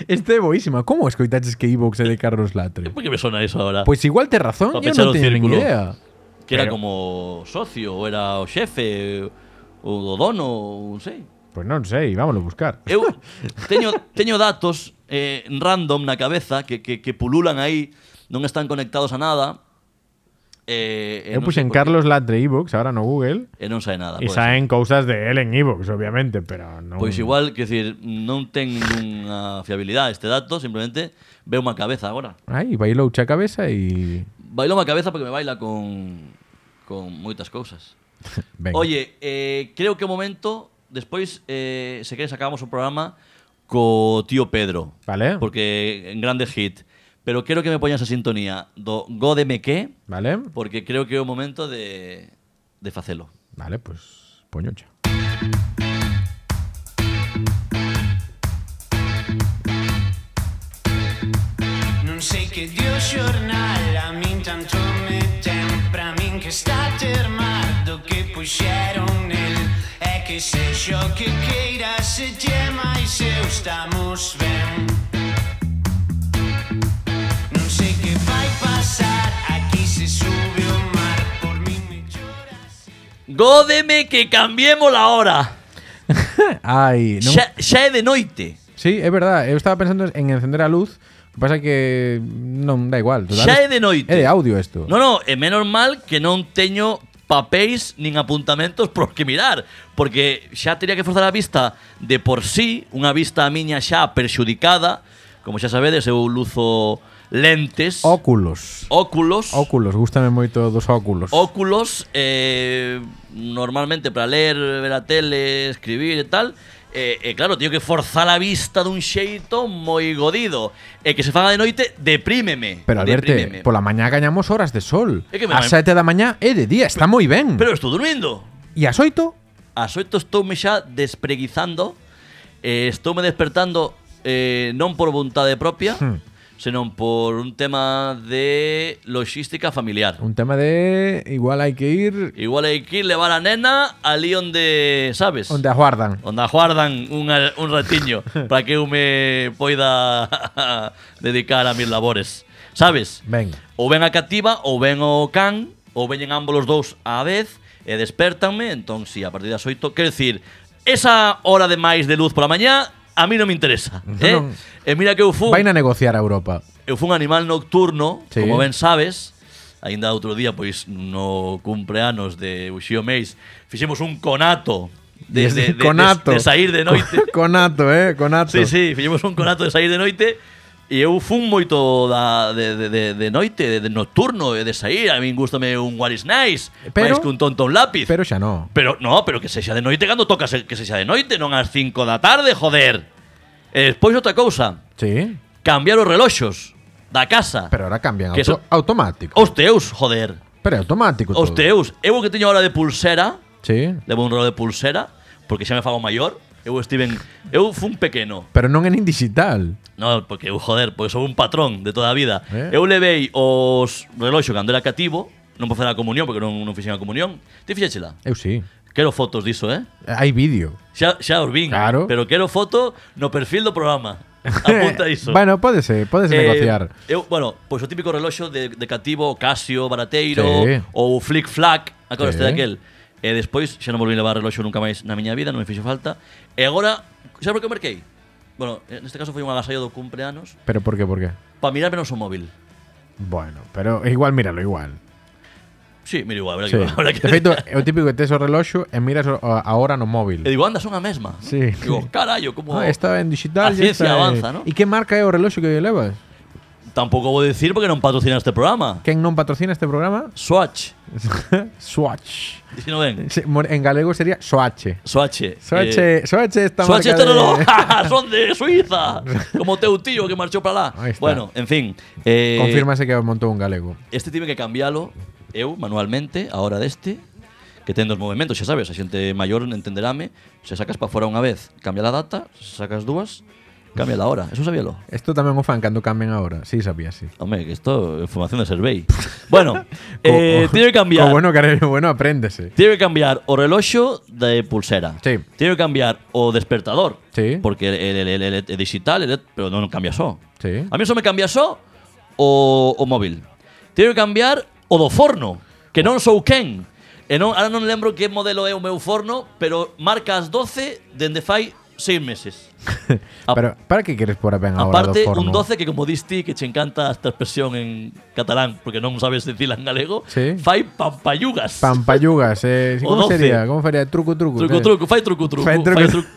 A: Este é boísima. Como escoitaches que Ivox é de Carlos Latre?
B: ¿por qué me suena eso ahora?
A: Pois igual te razón,
B: Pa
A: yo
B: pechar
A: non
B: o
A: teño nin
B: círculo.
A: idea.
B: que era
A: pero-
B: como socio, o era o xefe, o do dono, ou non sei.
A: Pois non sei, vámoslo buscar.
B: Eu teño, teño datos eh, random na cabeza que, que, que pululan aí, non están conectados a nada. Eh, e
A: Eu
B: non
A: puxen
B: sei por
A: Carlos Latre e Evox ahora no Google
B: qué. E non sai nada.
A: e
B: pode ser.
A: saen cousas de él en Evox, obviamente, pero non...
B: Pois igual, que decir, non ten ninguna fiabilidade este dato, simplemente veo unha cabeza agora.
A: Ai, bailou a cabeza e...
B: Bailo unha cabeza porque me baila con con moitas cousas.
A: Venga.
B: Oye, eh, creo que o momento Despois, eh, se queres, acabamos o programa Co tío Pedro
A: Vale.
B: Porque en grande hit Pero quero que me poñas a sintonía Do Gódeme que
A: Vale?
B: Porque creo que é o momento de De facelo
A: Vale, pois pues, poñocha.
D: Non sei che dio giornale, a min tanto me tempra, a min che sta fermato che puxeron nel. É que se xo que queira se lle máis eu estamos ben. Non sei que vai pasar, aquí se sube o mar, por min me choras.
B: Gódeme que cambiemos la hora
A: Ai, non...
B: xa, xa é de noite
A: Sí, é verdad, eu estaba pensando en encender a luz, o que pasa é que non da igual.
B: Xa é de noite.
A: É de audio isto.
B: No, no, é menos mal que non teño papéis nin apuntamentos por que mirar Porque xa teria que forzar a vista de por sí Unha vista a miña xa perxudicada Como xa sabedes, eu luzo lentes
A: Óculos.
B: Óculos
A: Óculos, gústame moito dos óculos.
B: Óculos eh, Normalmente para ler, ver a tele, escribir e tal E, e claro, teño que forzar a vista dun xeito moi godido E que se faga de noite, deprímeme
A: Pero Alberte,
B: deprímeme.
A: pola mañá gañamos horas de sol.
B: É que me
A: As
B: vai-
A: 7 da mañá é de día, está moi ben.
B: Pero estou dormindo
A: E as 8
B: As oito estoume xa despreguizando eh, Estoume despertando eh, non por vontade propia
A: Hmm.
B: Senón por un tema de logística familiar
A: Un tema de igual hai que ir
B: Igual hai que ir levar a nena ali onde, sabes?
A: onde as guardan.
B: Onde aguardan un, un ratiño para que eu me poida dedicar a mis labores sabes?
A: Venga.
B: Ou ven a cativa, ou ven o can, ou veñen ambos os dous á vez, e despertanme, entón, si, a partir das oito... Quer dicir, esa hora de máis de luz pola mañá, a mí non me interesa. Eh?
A: Non.
B: E mira que eu fun...
A: Vaina a negociar a Europa.
B: Eu fui un animal nocturno,
A: Sí.
B: como ben sabes, aínda outro día, pois, no cumpleanos de Uxío Meis, fixemos un conato de, de, de,
A: conato.
B: de, de sair de noite.
A: Conato, eh, conato.
B: sí, sí, fixemos un conato de sair de noite e eu fun moito da, de, de, de, de noite, de, de nocturno, e de sair, a min gustame un What is Nice,
A: Pero-
B: máis que un tonto un lápiz.
A: Pero xa no.
B: Pero no, pero que sexa de noite cando toca se- que sexa de noite, non ás 5 da tarde, joder. E despois outra cousa,
A: Sí.
B: cambiar os reloxos da casa.
A: Pero ahora cambian
B: Que
A: auto-
B: so-
A: automático.
B: Os teus, joder.
A: Pero é automático
B: Os
A: Pues todo.
B: teus. Eu o que teño ahora de pulsera,
A: Sí.
B: levo un rolo de pulsera, porque xa me fago maior. Eu estive en... Eu fui un pequeno.
A: Pero non é nin digital.
B: No, porque eu, joder, pois sou un patrón de toda a vida.
A: Eh.
B: Eu levei os reloxo cando era cativo, non para facer a comunión, porque non, non fixen a comunión. Ti fixéchela?
A: Eu sí.
B: Quero fotos diso, eh?
A: Hai vídeo.
B: Xa, xa os vin,
A: Claro.
B: pero quero foto no perfil do programa. Apunta iso.
A: bueno, pódese, pódese
B: Eh,
A: negociar.
B: Eu, bueno, pois o típico reloxo de, de cativo, Casio, barateiro,
A: Sí.
B: ou flick flack, acordaste
A: Sí.
B: daquel. E despois xa non volví levar reloxo nunca máis na miña vida, non me fixo falta. E agora, sabes o que merquei? Bueno, neste caso foi un agasallo do cumpleanos
A: Pero por qué, por qué?
B: para mirarme no o móvil.
A: Bueno, pero igual míralo igual.
B: Sí, mira igual, habrá
A: Sí.
B: que, habrá
A: De
B: que
A: feito, é o típico que tes o reloxo e miras o- a a hora no móvil.
B: E digo, anda, son a mesma.
A: Sí.
B: Digo, carallo, como...
A: Ah, esta en digital
B: A
A: e
B: ciencia
A: esta é-
B: avanza, ¿no?
A: E que marca é o reloxo que levas?
B: Tampouco vou dicir porque non patrocina este programa.
A: Quen non patrocina este programa?
B: Swatch.
A: Swatch.
B: Dixi non ben.
A: Se- mo- En galego sería Soache.
B: Swatch. eh,
A: Soache, Soache esta
B: Son
A: marca de-
B: de... son de Suiza, como teu tío que marchou para lá.
A: Ahí está.
B: Bueno, en fin, eh,
A: Confírmase que montou un galego.
B: este tive que cambialo eu manualmente a hora deste, que ten dos movimentos, xa sabes, a xente maior entenderame, se sacas para fora unha vez, cambia a data, se sacas dúas, cambia a hora, eso sabíalo.
A: Isto tamén o fan cando cambian a hora. Sí, sabía, sí.
B: Home, que isto é información de Servei. bueno, eh,
A: Co-
B: tive que
A: co
B: cambiar.
A: Oh, bueno, carallo, bueno, apréndese.
B: Tiene que cambiar o reloxo de pulsera.
A: Sí.
B: Tiene que cambiar o despertador.
A: Sí.
B: Porque el, el- el- el- el digital, el- pero non cambia só.
A: Sí.
B: A mí só me cambia só o, o móvil. Tiene que cambiar o do forno, que non sou quen. E non, ahora non lembro que modelo é o meu forno, pero marca as 12 dende fai 6 meses. A-
A: Pero, para que queres pôr ben a hora do
B: Aparte,
A: forno?
B: un 12 que como diste que che encanta esta expresión en catalán, porque non sabes dicila en galego,
A: Sí.
B: fai pampayugas.
A: Pampayugas, eh. sí,
B: O
A: Como
B: 12.
A: sería? Como sería? Truco, truco.
B: Truco,
A: ¿sabes?
B: truco, fai truco, truco. Fai
A: Fai
B: truco.
A: truco.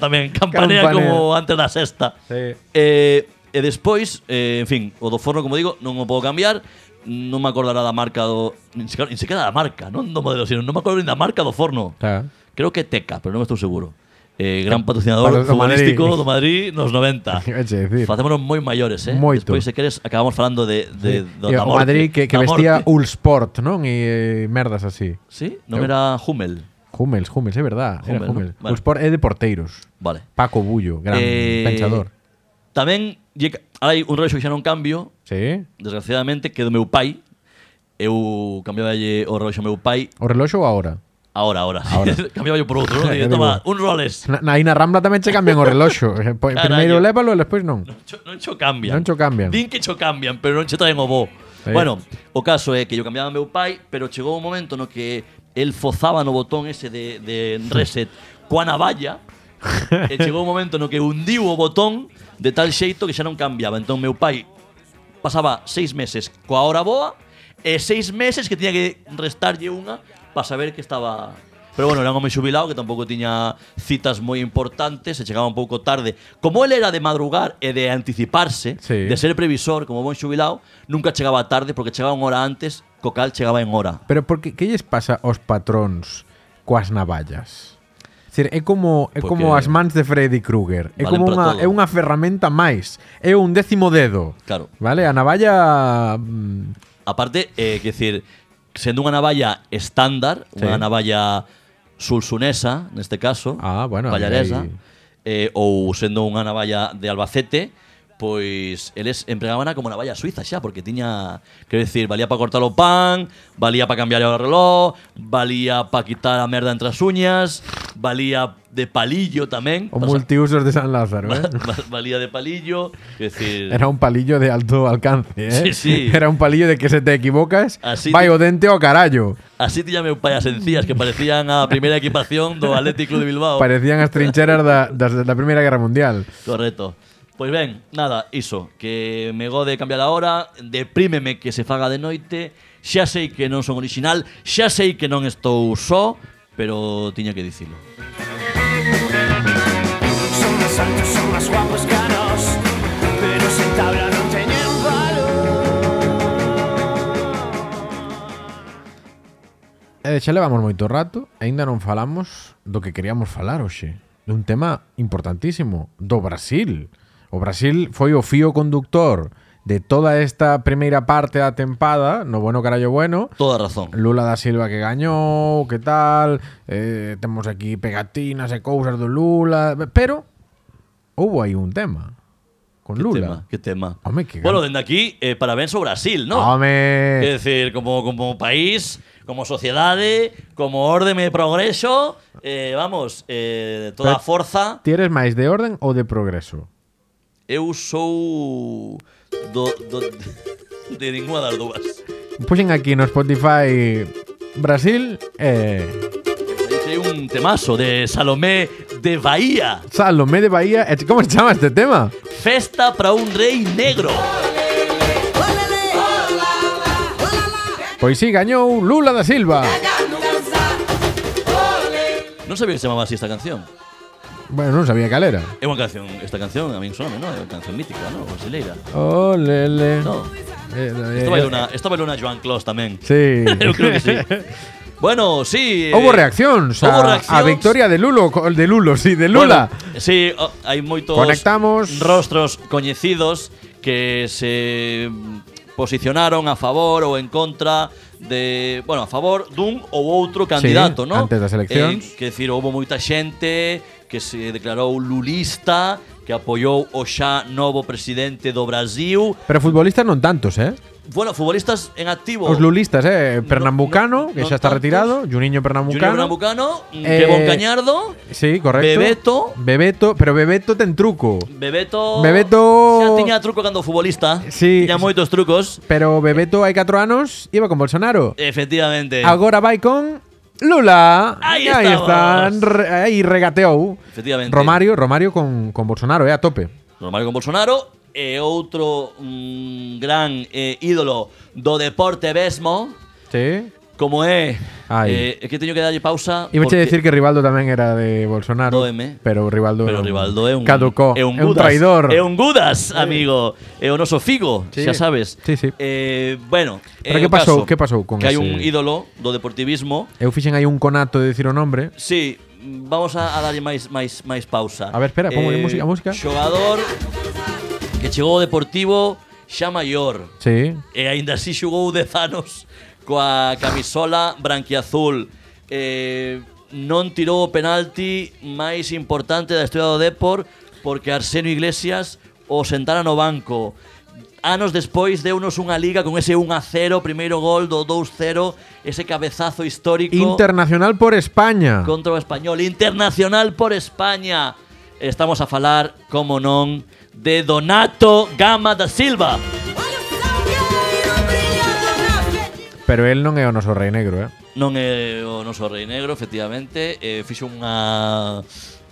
B: tamén. Campanea,
A: Campanea.
B: como antes da sexta.
A: Sí.
B: Eh, e despois, eh, en fin, o do forno, como digo, non o podo cambiar. Non me acordará da marca do... Nin sequera, nin sequera da marca, non do modelo, sino non me acordo nin da marca do forno.
A: Claro.
B: Creo que é Teca, pero non estou seguro. Eh, gran patrocinador
A: Para- do
B: futbolístico
A: Madrid.
B: do Madrid nos 90.
A: Eche, decir.
B: Facémonos moi maiores, eh?
A: Moito.
B: Despois, se queres, acabamos falando de, de, do,
A: E
B: da
A: o
B: morte,
A: Madrid que, que
B: da
A: vestía
B: morte.
A: Ulsport, non? E eh, merdas así.
B: Sí, non era Hummel.
A: Hummels, Hummels, é verdad. Era
B: Hummel, ¿no?
A: Hummels.
B: Vale.
A: Ulsport é de porteiros.
B: Vale.
A: Paco Bullo, gran
B: Eh,
A: pensador.
B: Tamén lle ca- hai un reloxo que xa non cambio,
A: Sí.
B: desgraciadamente, que é do meu pai. Eu cambiaballe o reloxo ao meu pai
A: O reloxo ou a hora?
B: ahora, ahora.
A: Ahora.
B: cambiaba por outro,
A: Eu
B: non? Dije,
A: digo-
B: toma, un Rolex.
A: Na, na, aí na Rambla tamén che cambian o reloxo. Eh, po-
B: Carallo.
A: Primeiro lévalo e despois non.
B: Cho- non cho cambian.
A: Non cho cambian.
B: Din que cho cambian, pero non cho traen o bo.
A: Sí.
B: Bueno, o caso é que yo cambiaba meu pai, pero chegou un momento no que el fozaba no botón ese de, de reset coa navalla, e chegou un momento no que hundiu o botón de tal xeito que xa non cambiaba. Entón meu pai pasaba seis meses coa hora boa e seis meses que tiña que restarlle unha para saber que estaba... Pero bueno, era un home xubilado que tampouco tiña citas moi importantes, se chegaba un pouco tarde. Como ele era de madrugar e de anticiparse,
A: Sí.
B: de ser previsor como bon xubilado, nunca chegaba tarde porque chegaba unha hora antes, co cal chegaba en hora.
A: Pero porque que lles pasa aos patróns coas navallas? Decir, é como é
B: Porque-
A: como as mans de Freddy Krueger, é
B: Valen
A: como
B: pra
A: unha
B: todo.
A: é unha ferramenta máis, é un décimo dedo.
B: Claro.
A: Vale, a navalla mm,
B: Aparte, eh, que decir, sendo unha navalla estándar,
A: Sí.
B: unha navalla sulsunesa, neste caso,
A: Ah, bueno,
B: pallaresa,
A: aí-
B: eh, ou sendo unha navalla de Albacete, pues pois eles empregábana como navalla suiza xa, porque tiña, quero decir, valía para cortar o pan, valía para cambiar o reloj, valía para quitar a merda entre as uñas, valía de palillo tamén.
A: O
B: Pasa-
A: multiusos de San Lázaro, ¿eh?
B: va- valía de palillo. Es decir,
A: Era un palillo de alto alcance, ¿eh?
B: Sí, sí.
A: Era un palillo de que se te equivocas,
B: Así
A: vai o
B: te-
A: dente o carallo.
B: así te llamei pai as encías que parecían a primeira equipación do Atlético de Bilbao.
A: Parecían as trincheras da, das da Primeira Guerra Mundial.
B: Correcto. Pois ben, nada, iso, que me gode cambiar a hora, deprímeme que se faga de noite, xa sei que non son original, xa sei que non estou só, pero tiña que dicilo.
D: Son más altos, son más guapos caros, pero se tabla no tenían valor.
A: E xa levamos moito rato e aínda non falamos do que queríamos falar hoxe. De un tema importantísimo, do Brasil. O Brasil foi o fío conductor de toda esta primeira parte da tempada, no bueno carallo bueno,
B: Toda razón.
A: Lula da Silva que gañou, que tal, eh, temos aquí pegatinas e cousas do Lula, pero houbo aí un tema con
B: Que
A: Lula.
B: tema, que tema.
A: Home, que
B: bueno,
A: gan-
B: dende aquí, eh, parabéns ao Brasil, non?
A: Home,
B: Es decir, como, como país, como sociedade, como orden de progreso, eh, vamos, eh, toda a
A: Pero-
B: forza.
A: ti eres máis de orden ou de progreso?
B: Eu sou do, do, de ninguna das dúas.
A: Puxen aquí no Spotify Brasil e
B: Aí Hai un temazo de Salomé de Bahía.
A: Salomé de Bahía. E como se chama este tema?
B: Festa para un rei negro.
A: Pois si, sí, gañou Lula da Silva.
B: Non sabía que se chamaba así esta canción.
A: Bueno, non sabía cal era.
B: É unha canción, esta canción a min soname, non? É unha canción mítica, non? Brasileira.
A: Olele.
B: No.
A: Eh, eh,
B: Esta bailona, esta bailona Joan Clos tamén.
A: Sí.
B: Eu creo que sí. Bueno, sí.
A: Houbo
B: eh,
A: reaccións
B: houbo
A: a, a
B: reaccións.
A: victoria de Lulo, co- de Lulo, sí, de Lula.
B: Bueno, sí, o- hai moitos
A: Conectamos.
B: rostros coñecidos que se mm, posicionaron a favor ou en contra de, bueno, a favor dun ou outro candidato, non?
A: antes das eleccións.
B: Eh, que decir, houve moita xente que se declarou lulista, que apoiou o xa novo presidente do Brasil.
A: Pero futbolistas non tantos, eh?
B: Bueno, futbolistas en activo.
A: Os lulistas, eh? Pernambucano,
B: Oh. no-
A: que
B: no
A: xa está
B: tantos.
A: retirado. Juninho Pernambucano.
B: Junior Bucano, mm,
A: Eh,
B: Kevon Cañardo,
A: Sí, correcto.
B: Bebeto.
A: Bebeto, pero Bebeto ten truco.
B: Bebeto.
A: Bebeto-
B: Xa tiña truco cando futbolista.
A: Sí.
B: Tiña moitos trucos.
A: Pero Bebeto hai 4 anos iba con Bolsonaro.
B: Efectivamente.
A: Agora vai con Lula.
B: Aí
A: aí
B: estamos.
A: están, re, aí regateou.
B: Efectivamente.
A: Romario, Romario con, con Bolsonaro, eh, a tope.
B: Romario con Bolsonaro e outro mm, gran eh, ídolo do deporte mesmo,
A: Sí.
B: como é
A: Ai.
B: eh, é que teño que darlle pausa
A: Iba a
B: porque
A: decir que Rivaldo tamén era de Bolsonaro.
B: Do M.
A: Pero Rivaldo, era
B: pero
A: un-
B: Rivaldo é un
A: caducó,
B: é un,
A: é un
B: Gudas,
A: traidor.
B: É un Gudas, amigo, é o noso Figo,
A: Sí.
B: xa sabes.
A: Sí, sí.
B: Eh, bueno,
A: Pero
B: é
A: que
B: o
A: pasou-
B: caso
A: que pasou con
B: que hai
A: ese-
B: un ídolo do deportivismo.
A: Eu fixen aí un conato de dicir o nombre.
B: Sí, vamos a, a darlle máis máis máis pausa.
A: A ver, espera, pongo música, música.
B: Xogador que chegou ao Deportivo xa maior.
A: Sí.
B: E aínda así xogou 10 anos coa camisola branquiazul. Eh, non tirou o penalti máis importante da historia do Depor porque Arsenio Iglesias o sentara no banco. Anos despois deunos unha liga con ese 1-0, primeiro gol do 2-0, ese cabezazo histórico
A: Internacional por España.
B: contra o español internacional por España. Estamos a falar, como non, de Donato Gama da Silva.
A: Pero él non é o noso rei negro, eh.
B: Non é o noso rei negro, efectivamente. Eh, fixo unha,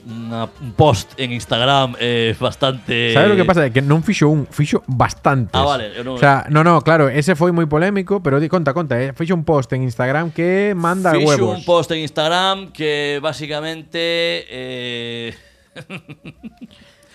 B: unha un post en Instagram eh, bastante...
A: Sabes lo que pasa? É que non fixo un, fixo bastantes.
B: Ah, vale, eu non-
A: O sea, no, no, claro, ese foi moi polémico, pero di conta, conta, eh. Fixo un post en Instagram que manda
B: Fixo
A: huevos.
B: un post en Instagram que basicamente... Eh,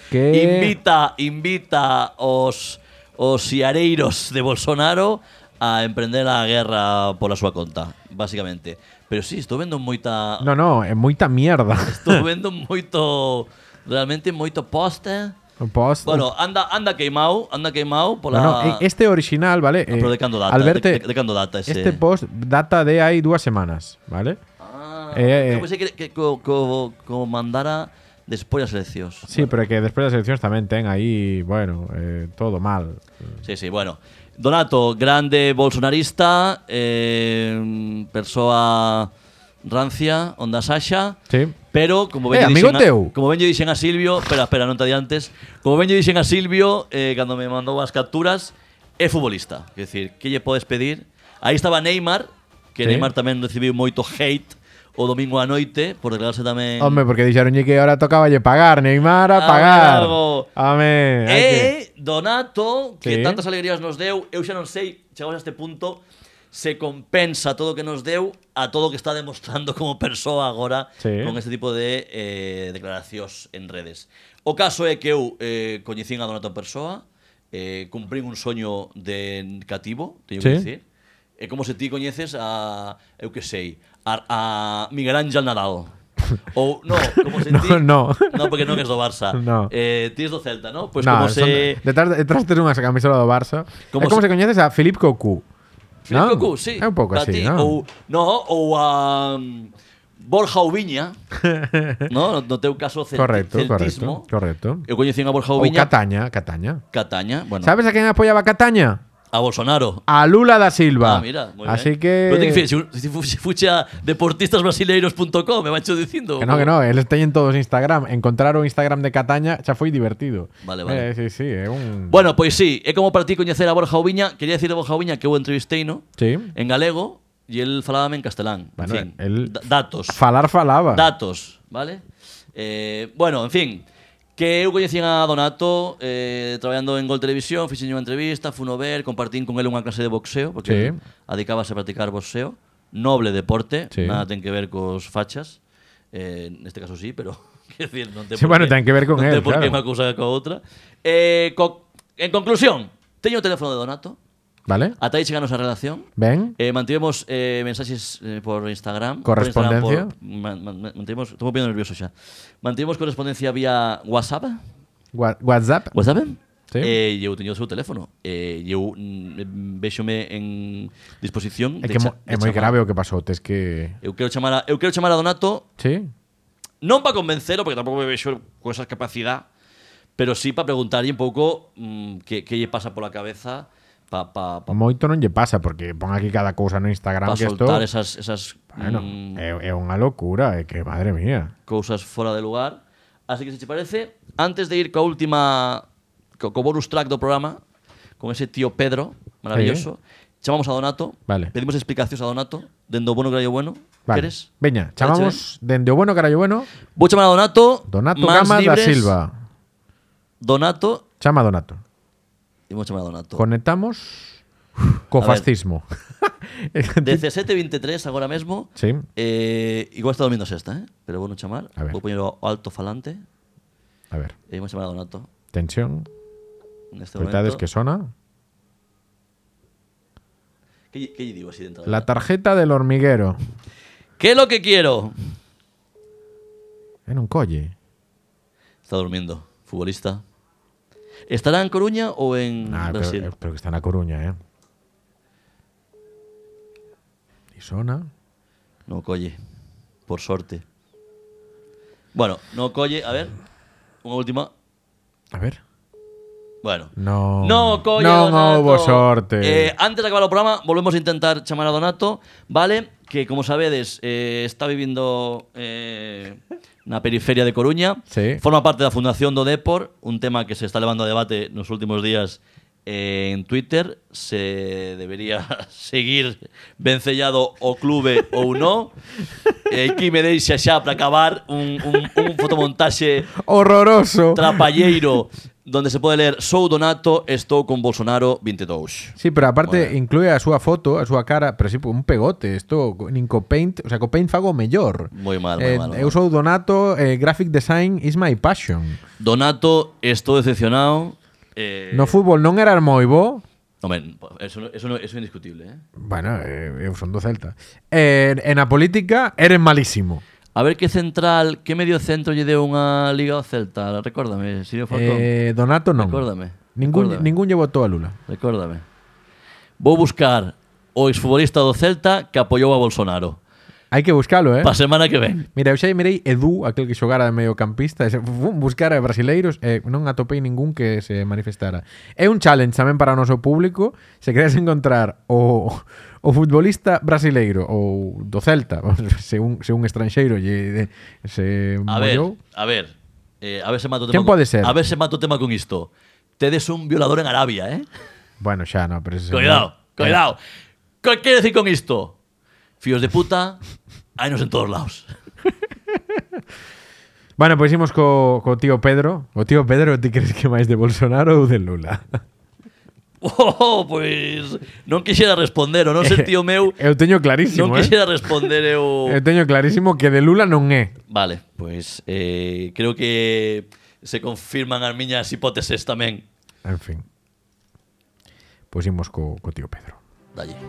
A: que
B: invita invita os os siareiros de Bolsonaro a emprender a guerra pola súa conta, basicamente. Pero sí, estou vendo moita
A: No, no, é moita mierda.
B: estou vendo moito realmente moito eh. poste.
A: Un post.
B: Bueno, anda anda queimao, anda queimao pola
A: No, no, e- este original, vale? eh,
B: Ah, pero de cando data,
A: al verte-
B: de- de- de cando data ese.
A: Este post data de hai dúas semanas, vale?
B: Ah,
A: Eh,
B: eu pensei que, que co, co, co mandara despois das eleccións.
A: Sí, pero que despois das eleccións tamén ten aí, bueno, eh, todo mal.
B: Sí, sí, bueno. Donato, grande bolsonarista, eh, persoa rancia, onda Sasha,
A: Sí.
B: Pero, como
A: Eh,
B: ben, lle
A: amigo
B: dixen
A: teu.
B: a, como ben lle dixen a Silvio Espera, espera, non te adiantes Como ben lle dixen a Silvio eh, Cando me mandou as capturas É futbolista Quer decir, que lle podes pedir Aí estaba Neymar Que
A: Sí.
B: Neymar tamén recibiu moito hate O domingo á noite Por declararse tamén
A: Hombre, porque dijeron que ahora tocaba lle pagar, Neymar a
B: Ah,
A: pagar.
B: bravo.
A: Amén. hai que-
B: E Donato, que
A: Sí.
B: tantas alegrías nos deu, eu xa non sei, chegamos a este punto, se compensa todo o que nos deu a todo o que está demostrando como persoa agora
A: Sí.
B: con este tipo de eh, declaracións en redes. O caso é que eu eh, coñecín a Donato en persoa, eh, cumprín un soño de cativo, teño
A: Sí.
B: que dicir, é como se ti coñeces a, eu que sei, a, a Miguel Ángel Nadal. Ou, no, como se
A: No,
B: ti...
A: no.
B: No, porque non que es do Barça.
A: No.
B: Eh, ti es do Celta, ¿no? Pues
A: No,
B: como
A: son-
B: se...
A: detrás, detrás tes unha camisola do Barça.
B: Como
A: é como
B: se-
A: se, coñeces a Philippe Cocu.
B: Filipe Cocu, sí.
A: É un pouco
B: Para
A: así,
B: ti.
A: non?
B: Ou, no, ou a um, Borja Ubiña, no? no teu caso cel
A: Correcto,
B: celtismo.
A: correcto, correcto.
B: Eu coñecín a Borja
A: Ou
B: Ubiña.
A: Cataña, Cataña.
B: Cataña, bueno.
A: Sabes a quen apoiaba Cataña?
B: A Bolsonaro.
A: A Lula da Silva.
B: Ah, mira, moi
A: Así
B: ben.
A: que...
B: Pero ten que fíjate, se, se, fu- se fuche a deportistasbrasileiros.com, me mancho dicindo.
A: Que no, que no, eles teñen todos Instagram. Encontrar o Instagram de Cataña xa foi divertido.
B: Vale,
A: Eh,
B: vale.
A: sí, sí, é un...
B: Bueno, pois sí, é como para ti coñecer a Borja Ubiña, quería decir a Borja Ubiña que eu entrevistei, no?
A: Sí.
B: En galego, e el falábame en castelán.
A: Bueno,
B: en fin,
A: el-
B: da- datos.
A: Falar falaba.
B: Datos, ¿vale? Eh, bueno, en fin, que eu coñecín a Donato eh, traballando en Gol Televisión, fixen unha entrevista, funo ver, compartín con el unha clase de
A: Sí.
B: boxeo, porque sí. adicábase a practicar boxeo, noble deporte,
A: Sí.
B: sí. nada ten que ver cos fachas, eh, neste caso sí, pero... quer Decir, non ten
A: Sí,
B: por
A: bueno,
B: qué-
A: ten que ver con
B: non
A: él,
B: ten por qué
A: claro.
B: unha cousa coa outra. Eh, co, en conclusión, teño o teléfono de Donato,
A: Vale?
B: ata aí chega a nosa relación,
A: Ben?
B: Eh, mantivemos eh, mensaxes eh, por Instagram.
A: Correspondencia.
B: Por Instagram, por- man- man- mantivemos, estou poniendo nervioso xa. Mantivemos correspondencia vía WhatsApp.
A: Wha- WhatsApp?
B: WhatsApp?
A: Sí.
B: Eh, e eu teño o seu teléfono. Eh, e eu mm, véxome en disposición
A: É que
B: de
A: mo-
B: cha- de
A: é moi
B: chamar.
A: grave o que pasou, tes que...
B: Eu quero chamar a, eu quero chamar a Donato
A: Sí?
B: non para convencelo, porque tampouco me vexo con esa capacidade, pero sí para preguntarlle un pouco mm, que, que lle pasa pola cabeza pa, pa, pa,
A: Moito non lle pasa, porque pon aquí cada cousa no Instagram
B: pa
A: que isto...
B: soltar esas, esas
A: Bueno, eh,
B: mm,
A: é, é unha locura, é que madre mía.
B: cousas fora de lugar. Así que se che parece, antes de ir coa última co, co bonus track do programa, con ese tío Pedro, maravilloso, chamamos a Donato,
A: Vale.
B: pedimos explicacións a Donato, dende o bueno que bueno,
A: Vale.
B: queres?
A: Veña,
B: Parece
A: chamamos dende o bueno carallo bueno,
B: ben? Vou chamar a Donato,
A: Donato
B: mans
A: Gama da
B: libres,
A: Silva.
B: Donato,
A: Chama a Donato.
B: imos chamar a Donato.
A: Conectamos co
B: A ver.
A: fascismo.
B: 17.23 agora mesmo.
A: Sí.
B: Eh, igual está dormindo a sexta, eh? pero vou non chamar.
A: A ver.
B: Vou poñer o alto falante
A: A ver,
B: e imos chamar a Donato.
A: tensión,
B: Neste
A: verdades
B: Este momento.
A: que sona.
B: que, lle- que lle digo así dentro?
A: La tarjeta del hormiguero.
B: ¿Qué es lo que quiero?
A: En un colle.
B: Está durmiendo. Futbolista. ¿Estará en Coruña o en
A: Nah, pero,
B: Brasil?
A: eh, pero que está na Coruña, eh. E sona.
B: No colle. Por sorte. Bueno, no colle. A ver. Una última.
A: A ver.
B: Bueno.
A: No.
B: No colle.
A: Non
B: Donato.
A: houbo sorte.
B: Eh, antes de acabar el programa, volvemos a intentar chamar a Donato, ¿vale? Que como sabedes, eh, está viviendo eh, na periferia de Coruña.
A: Sí.
B: Forma parte da Fundación do Depor, un tema que se está levando a debate nos últimos días eh, en Twitter, se debería seguir vencellado o clube ou non. E aquí me deixa xa para acabar un, un, un fotomontaxe
A: Horroroso.
B: trapalleiro donde se pode ler Sou Donato, estou con Bolsonaro e 22.
A: Sí, pero aparte
B: Bueno.
A: inclúe a súa foto, a súa cara, pero sí, un pegote, isto nin co Paint, o sea, co Paint fago o mellor.
B: Moi mal, moi
A: eh,
B: mal, moi
A: Eu
B: mal.
A: sou Donato, eh, graphic design is my passion.
B: Donato, estou decepcionado. Eh,
A: No fútbol non era moi bo,
B: Hombre, eso, no- eso, no- eso é indiscutible, eh?
A: bueno, eh, eu son do Celta. Eh, en a política eres malísimo.
B: A ver que central, que medio centro lle deu unha liga ao Celta, recórdame, Sirio Falcón.
A: Eh, Donato non.
B: Recórdame,
A: Ningún,
B: recórdame.
A: ningún lle votou a Lula.
B: Recórdame. Vou buscar o exfutbolista do Celta que apoiou a Bolsonaro.
A: Hai que buscalo, eh?
B: Pa semana que ven.
A: Mira, eu xa mirei Edu, aquel que xogara de mediocampista, e se- fun buscar a brasileiros e non atopei ningún que se manifestara. É un challenge tamén para o noso público, se queres encontrar o o futbolista brasileiro ou do Celta, se un, se un estranxeiro lle, se
B: A ver,
A: mollou.
B: a ver. eh, a ver se mato o tema.
A: Quen
B: con-
A: pode ser?
B: A ver se mato o tema con isto. Tedes un violador en Arabia, eh?
A: Bueno, xa, no, pero ese señor-
B: Cuidado, cuidado. ¿Qué quiere decir con isto? Fíos de puta, hainos en todos lados.
A: Bueno, pois imos co, co tío Pedro. O tío Pedro, ti crees que é máis de Bolsonaro ou de Lula?
B: Oh, pois non quixera responder, o non ser tío meu,
A: Eu Eh, teño
B: non
A: clarísimo, eh? Este-
B: quixera responder eu.
A: Eu teño clarísimo que de Lula non é.
B: Vale, pois eh, creo que se confirman as miñas hipóteses tamén.
A: En fin. Pois imos co, co tío Pedro.
B: Dalle.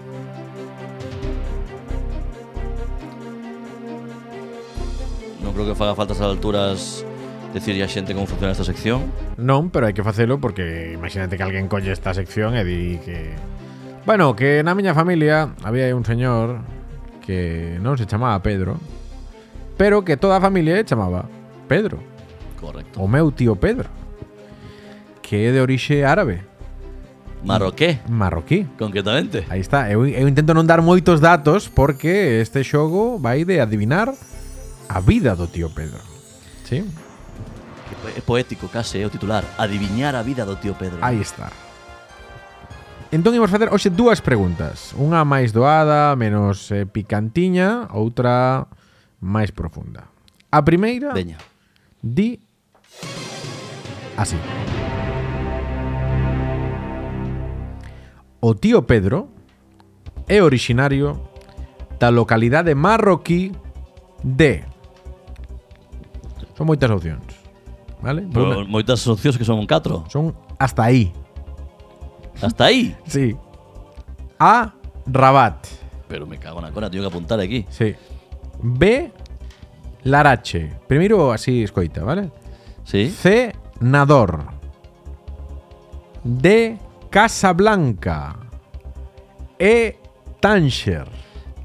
B: Non creo que faga falta a estas alturas decir a xente como funciona esta sección.
A: Non, pero hai que facelo porque imagínate que alguén colle esta sección e di que... Bueno, que na miña familia había un señor que non se chamaba Pedro, pero que toda a familia lle chamaba Pedro.
B: Correcto.
A: O meu tío Pedro. Que é de orixe árabe,
B: Marroqué,
A: marroquí.
B: concretamente.
A: Aí está, eu, eu intento non dar moitos datos porque este xogo vai de adivinar a vida do tío Pedro. Sí?
B: É poético case é o titular Adiviñar a vida do tío Pedro
A: Aí está. Entón imos facer hoxe dúas preguntas, unha máis doada, menos eh, picantiña, outra máis profunda. A primeira
B: Veña
A: di así. O tío Pedro é originario da localidade marroquí de Son moitas opcións, vale? Pero
B: Pero
A: una-
B: Moitas opcións que son un 4
A: Son hasta aí.
B: Hasta aí
A: Sí. A Rabat.
B: Pero me cago na cona, teño que apuntar aquí
A: Sí. B Larache. Primeiro así escoita, vale?
B: Sí
A: C. Nador. D. Casablanca. E. Tánger.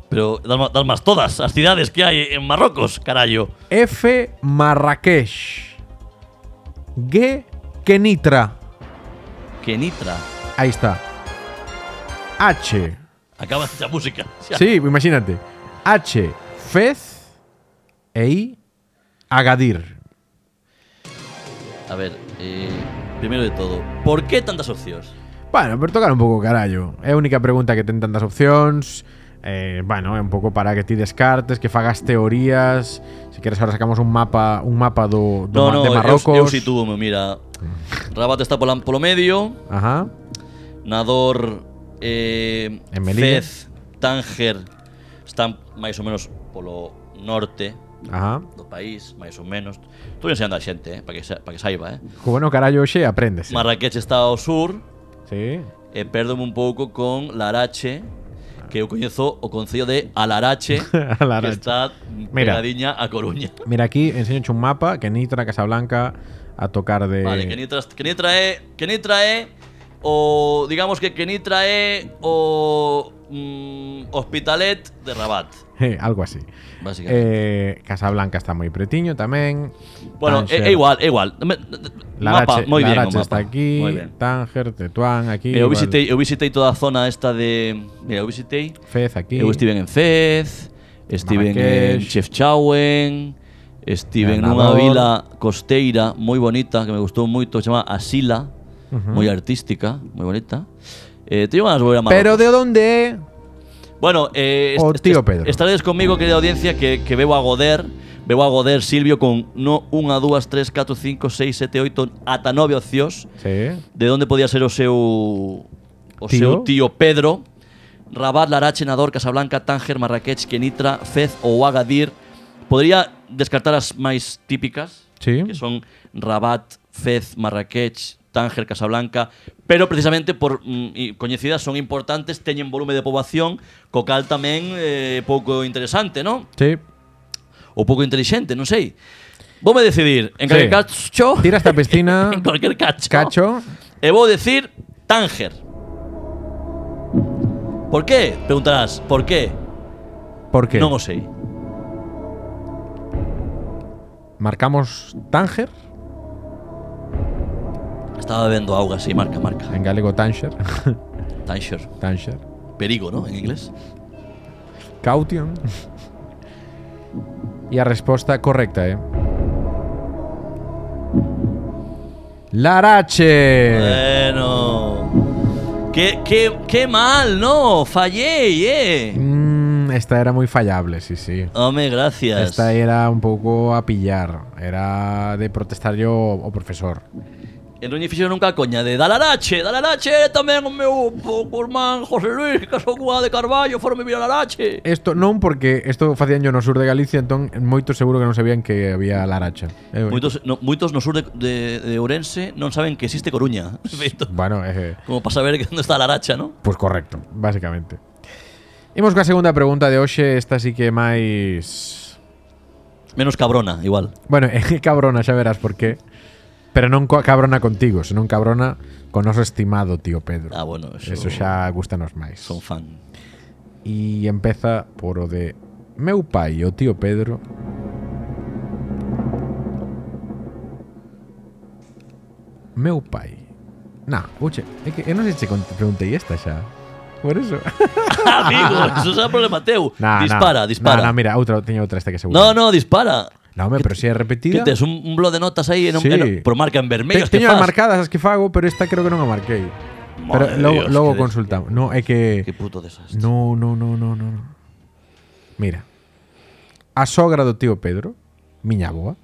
B: Pero das, ma- das más todas as cidades que hai en Marrocos, carallo
A: F. Marrakech. G. Kenitra.
B: Que nitra
A: Ahí está. H.
B: Acaba esta música Xa.
A: Sí, imagínate. H. Fez. E I. Agadir.
B: A ver, eh, primero de todo Por que tantas opcións?
A: Bueno, pero tocar un pouco o carallo. É a única pregunta que ten tantas opcións. Eh, bueno, é un pouco para que ti descartes, que fagas teorías. Se queres ahora sacamos un mapa, un mapa do, do
B: No,
A: ma-
B: no,
A: de Marrocos.
B: eu, eu sitúome, mira Rabat está pola, polo medio
A: Ajá.
B: Nador, eh,
A: En Melilla.
B: Fez, Tánger están máis ou menos polo norte
A: Ajá.
B: do país, máis ou menos. Estou enseñando a xente, eh, para que, sa- para que saiba. Eh.
A: Co bueno carallo hoxe aprendes.
B: Marrakech está ao sur
A: Sí.
B: e perdome un pouco con Larache, que eu coñezo o concello de Alarache,
A: Alarache.
B: que está
A: Mira. Eh.
B: pegadiña a Coruña.
A: Mira aquí, enseño un mapa que Nitra, Casablanca a tocar de
B: Vale, que Nitra, que Nitra é, que Nitra é o digamos que que Nitra é o mm, Hospitalet de Rabat,
A: Eh, algo así.
B: básicamente.
A: Eh, Casablanca está moi pretiño tamén.
B: Bueno, é,
A: Tánger.
B: é igual, é igual. Me- mapa,
A: Larache,
B: moi ben, o
A: Larache
B: mapa. Eh,
A: está aquí,
B: Moi ben.
A: Tánger, Tetuán, aquí. igual.
B: Eu visitei, eu visitei toda a zona esta de, mira, eu visitei,
A: Fez aquí.
B: eu estive en Fez, estive en
A: Marrakech.
B: Chefchaouen, estive
A: En
B: nunha
A: Nador.
B: vila costeira moi bonita que me gustou moito, que se chama Asila, moi artística, moi bonita. Eh, teño ganas de volver a Marrocos.
A: Pero de onde é?
B: Bueno, eh,
A: O
B: est-
A: Oh, tío
B: est-
A: Pedro.
B: estaredes comigo, querida audiencia, que, que veo a Goder, veo a Goder Silvio con no, unha, dúas, tres, catro, cinco, seis, sete, oito, ata nove opcións
A: Sí.
B: de onde podía ser o seu o
A: Tío?
B: seu tío Pedro. Rabat, Larache, Nador, Casablanca, Tánger, Marrakech, Kenitra, Fez ou Agadir. Podría descartar as máis típicas,
A: Sí.
B: que son Rabat, Fez, Marrakech, Tánger, Casablanca, pero precisamente por mm, i- coñecidas son importantes, teñen volume de poboación, co cal tamén eh, pouco interesante, non?
A: Sí.
B: Ou pouco intelixente, non sei. Voume decidir,
A: Sí.
B: en calquer cacho,
A: Tira esta piscina.
B: en calquer cacho.
A: Cacho.
B: E vou decir Tánger. Por qué? Preguntarás, por qué?
A: ¿Por qué?
B: Non o sei.
A: Marcamos Tánger.
B: Estaba bebendo auga, sí, marca, marca.
A: En galego Tánger.
B: Tánger.
A: Tánger.
B: Perigo, ¿no? En inglés.
A: Caution. E a resposta correcta ¿eh? é Larache.
B: Bueno. Qué, qué, qué mal, ¿no? Fallé, eh.
A: Mm, esta era moi fallable, sí, sí.
B: Hombre, gracias.
A: Esta era un pouco a pillar, era de protestar yo o profesor.
B: E non lle fixeron nunca a coña de Dalarache, Dalarache tamén o meu o irmán José Luis Casogua de Carballo foron vivir a Larache.
A: Esto non porque isto facían yo no sur de Galicia, entón moito seguro que non sabían que había Laracha. Eh,
B: Moitos, no, moitos no sur de, de, de Ourense non saben que existe Coruña. Perfecto.
A: Bueno, eh,
B: Como para saber que onde está Laracha, ¿no?
A: Pois correcto, basicamente. Imos coa segunda pregunta de hoxe, esta sí que é máis...
B: Menos cabrona, igual.
A: Bueno, é que cabrona, xa verás por qué. Pero non coa cabrona contigo, senón cabrona con noso estimado tío Pedro.
B: Ah, bueno, eso-
A: Eso xa gustanos máis.
B: Son fan.
A: E empeza por o de meu pai e o tío Pedro Meu pai Nah, uche, é que eu non sei se che cont- preguntei esta xa Por eso Ah,
B: Amigo, eso xa é problema teu.
A: Nah, nah.
B: dispara, dispara.
A: Nah, nah, mira, outra, teño outra esta que seguro
B: no, no, dispara.
A: No, home, pero si é
B: Que
A: repetida
B: tes un, un blog de notas aí e non,
A: Sí.
B: e non, por marca en vermello.
A: Te,
B: es que
A: teño as
B: fas.
A: marcadas as que fago, pero esta creo que non a marquei Pero
B: Madre
A: logo,
B: Dios,
A: logo
B: que des-
A: consultamos No, é que
B: Que puto desastre.
A: No, no, no, no, no. no. Mira. A sogra do tío Pedro, miña boa,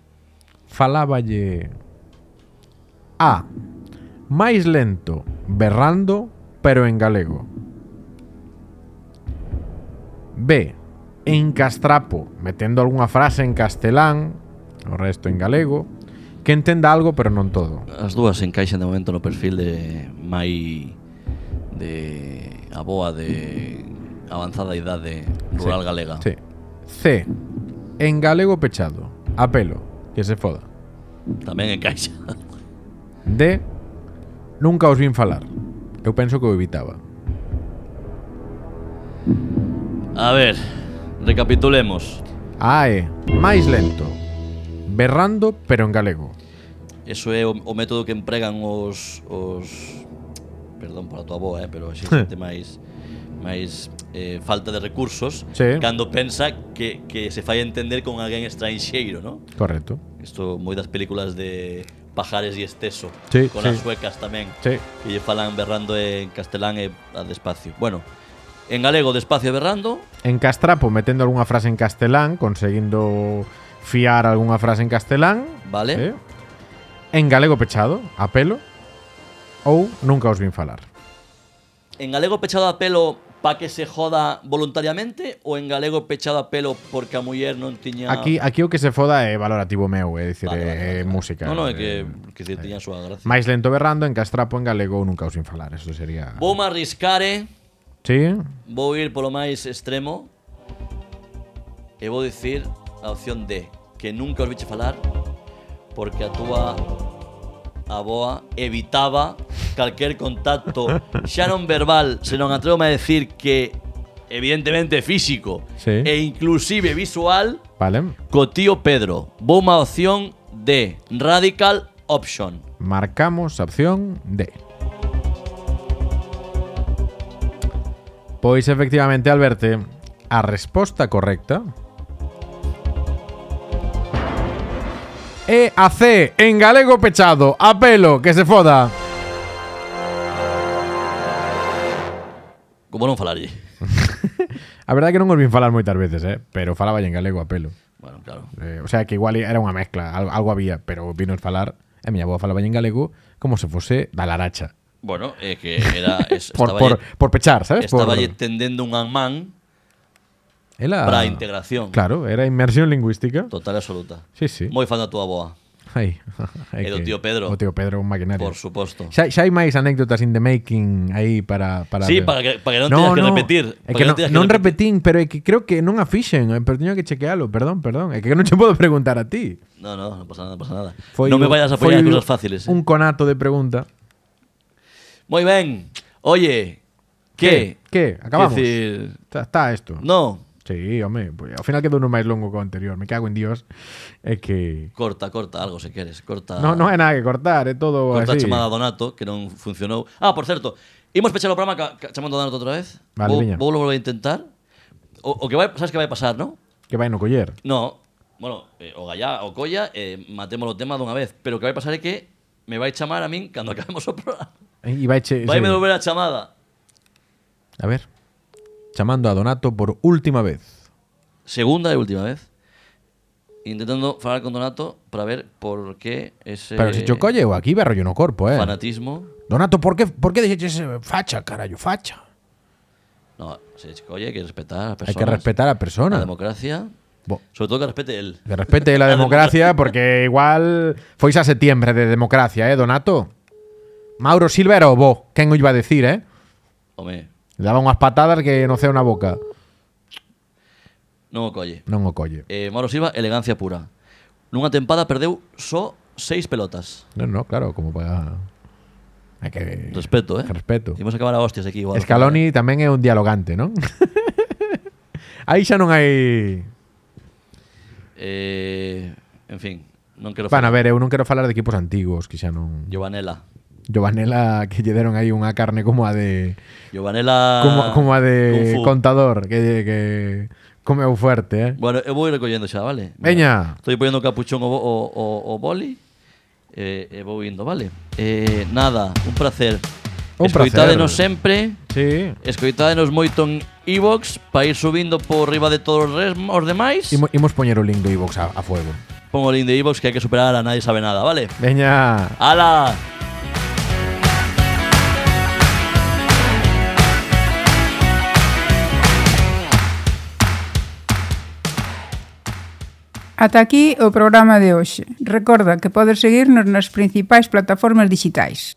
A: faláballe A. Máis lento, berrando, pero en galego. B. En castrapo, metendo algunha frase en castelán, o resto en galego, que entenda algo, pero non todo.
B: As dúas encaixan de momento no perfil de Mai de aboa de avanzada idade rural galega.
A: Sí. C. En galego pechado, apelo, que se foda.
B: Tamén encaixa.
A: D. Nunca os vin falar. Eu penso que o evitaba.
B: A ver, recapitulemos.
A: A E. Máis lento. Berrando, pero en galego.
B: Eso é o, o método que empregan os os perdón pola tua boa, eh, pero xe xente máis máis eh, falta de recursos
A: Sí.
B: cando pensa que, que se fai entender con alguén estranxeiro, ¿no?
A: Correcto.
B: Isto moi das películas de Pajares e Esteso
A: Sí,
B: con
A: sí.
B: as suecas tamén.
A: Sí.
B: Que lle falan berrando en castelán e a despacio. Bueno, en galego despacio e berrando,
A: En castrapo, metendo algunha frase en castelán, conseguindo fiar algunha frase en castelán.
B: Vale.
A: Eh? En galego pechado, apelo. Ou nunca os vin falar.
B: en galego pechado a pelo pa que se joda voluntariamente ou en galego pechado a pelo porque a muller non tiña
A: Aquí, aquí o que se foda é valorativo meu, é dicir,
B: Vale, vale, vale,
A: é
B: vale.
A: música.
B: Non, non, é que
A: eh,
B: que se tiña a súa gracia.
A: Máis lento berrando, en castrapo, en galego, ou nunca os vin falar. Eso sería...
B: Vou me arriscar, eh?
A: Sí?
B: Vou ir polo máis extremo e vou dicir a opción D, que nunca os viche falar porque a túa aboa evitaba calquer contacto xa non verbal, senón atrevo-me a decir que evidentemente físico
A: Sí.
B: e inclusive visual
A: Vale.
B: co tío Pedro. Vou má opción D, Radical Option.
A: Marcamos a opción D. Pois efectivamente, Alberte, a resposta correcta E a C, en galego pechado, apelo, que se foda.
B: Como non falarlle?
A: A verdade é que non os vin falar moitas veces, eh? pero falaba en galego apelo.
B: Bueno, claro.
A: Eh, o sea que igual era unha mezcla, algo, algo había, pero vinos falar, e a miña boa falaba en galego como se fose da laracha.
B: Bueno, é que era es,
A: Por,
B: estaba
A: por, por pechar, sabes? Por-
B: Estaba lle tendendo un amán
A: Ela-
B: para a integración.
A: Claro, era inmersión lingüística.
B: Total e absoluta.
A: Sí, sí.
B: Moi fan da tua boa,
A: Ai, hai
B: E do
A: que-
B: tío Pedro.
A: O tío Pedro, un maquinario.
B: por suposto.
A: Xa, xa hai máis anécdotas in the making aí para... para
B: Sí, para que- para que non teñas que repetir.
A: É
B: Para
A: que
B: que non
A: non,
B: teñas que
A: non
B: repetir.
A: repetín, pero é que creo que non a fixen, eh, pero teño que chequealo, perdón, perdón. É que non che podo preguntar a ti.
B: No, no, non pasa nada, non pasa nada. non me
A: o-
B: vayas a
A: foi
B: apoyar
A: o-
B: cousas fáciles. Eh.
A: Un conato de pregunta.
B: Moi ben. Oye, que?
A: Que? Acabamos.
B: Decir,
A: Está, está esto.
B: no,
A: Sí, home, pois, ao final quedou uno máis longo que o anterior. Me cago en Dios. É que...
B: corta, corta algo se queres, corta.
A: No, non é nada que cortar, é todo
B: corta a
A: así.
B: chamada a Donato que non funcionou. Ah, por certo, Imos pechar o programa ca, ca, chamando a Danoto outra vez.
A: Vale,
B: vou,
A: viña.
B: vou volver a intentar. O, o que vai, sabes que vai pasar, non?
A: Que vai no coller.
B: No, bueno, eh, o gallá, o colla, eh, matemos o tema dunha vez. Pero o que vai pasar é que me vai chamar a min cando acabemos o programa.
A: E vai che,
B: Vai me
A: sí.
B: devolver a chamada.
A: A ver. Chamando a Donato por última vez.
B: Segunda e última vez. Intentando falar con Donato para ver por que ese
A: Pero se cho colle, eu aquí berro yo no corpo, eh.
B: fanatismo.
A: Donato, por que por que dixeches eh, facha, carallo, facha?
B: No, se colle, hai que respetar a
A: Hai
B: personas.
A: que respetar a persona.
B: a democracia.
A: Bo-
B: Sobre todo que respete el.
A: Que respete la democracia porque igual fois a septiembre de democracia, eh, Donato. Mauro Silva era o bo, quen o iba a decir, eh?
B: Home,
A: Le daba unhas patadas que non sei na boca.
B: non o colle.
A: Non o colle.
B: Eh, Mauro Silva, elegancia pura. Nunha tempada perdeu só seis pelotas.
A: Non, non, claro, como para Hai que
B: Respeto, eh?
A: que respeto.
B: Imos acabar a hostias aquí igual.
A: Scaloni tamén é un dialogante, non? Aí xa non hai
B: Eh, en fin, non quero
A: Van a ver,
B: falar.
A: eu non quero falar de equipos antigos que xa non
B: Giovanella.
A: Giovanella que lle deron aí unha carne como a de
B: Giovanella
A: como, como a de
B: Kung Ah, Fu.
A: contador que, que comeu fuerte, eh.
B: Bueno, eu vou ir recollendo xa, vale?
A: Veña.
B: Estou poñendo o capuchón o, bo- o, o, o boli eh, e vou indo, vale? Eh, nada, un placer.
A: Un placer.
B: Escoitádenos sempre.
A: Sí.
B: Escoitádenos moito en iVox para ir subindo por riba de todos os, res, os demais.
A: Imo, imos poñer o link do iVox a, a fuego.
B: Pongo el link de iVox que hay que superar a nadie sabe nada, ¿vale?
A: Veña.
B: ¡Hala!
E: Ata aquí o programa de hoxe. Recorda que podes seguirnos nas principais plataformas digitais.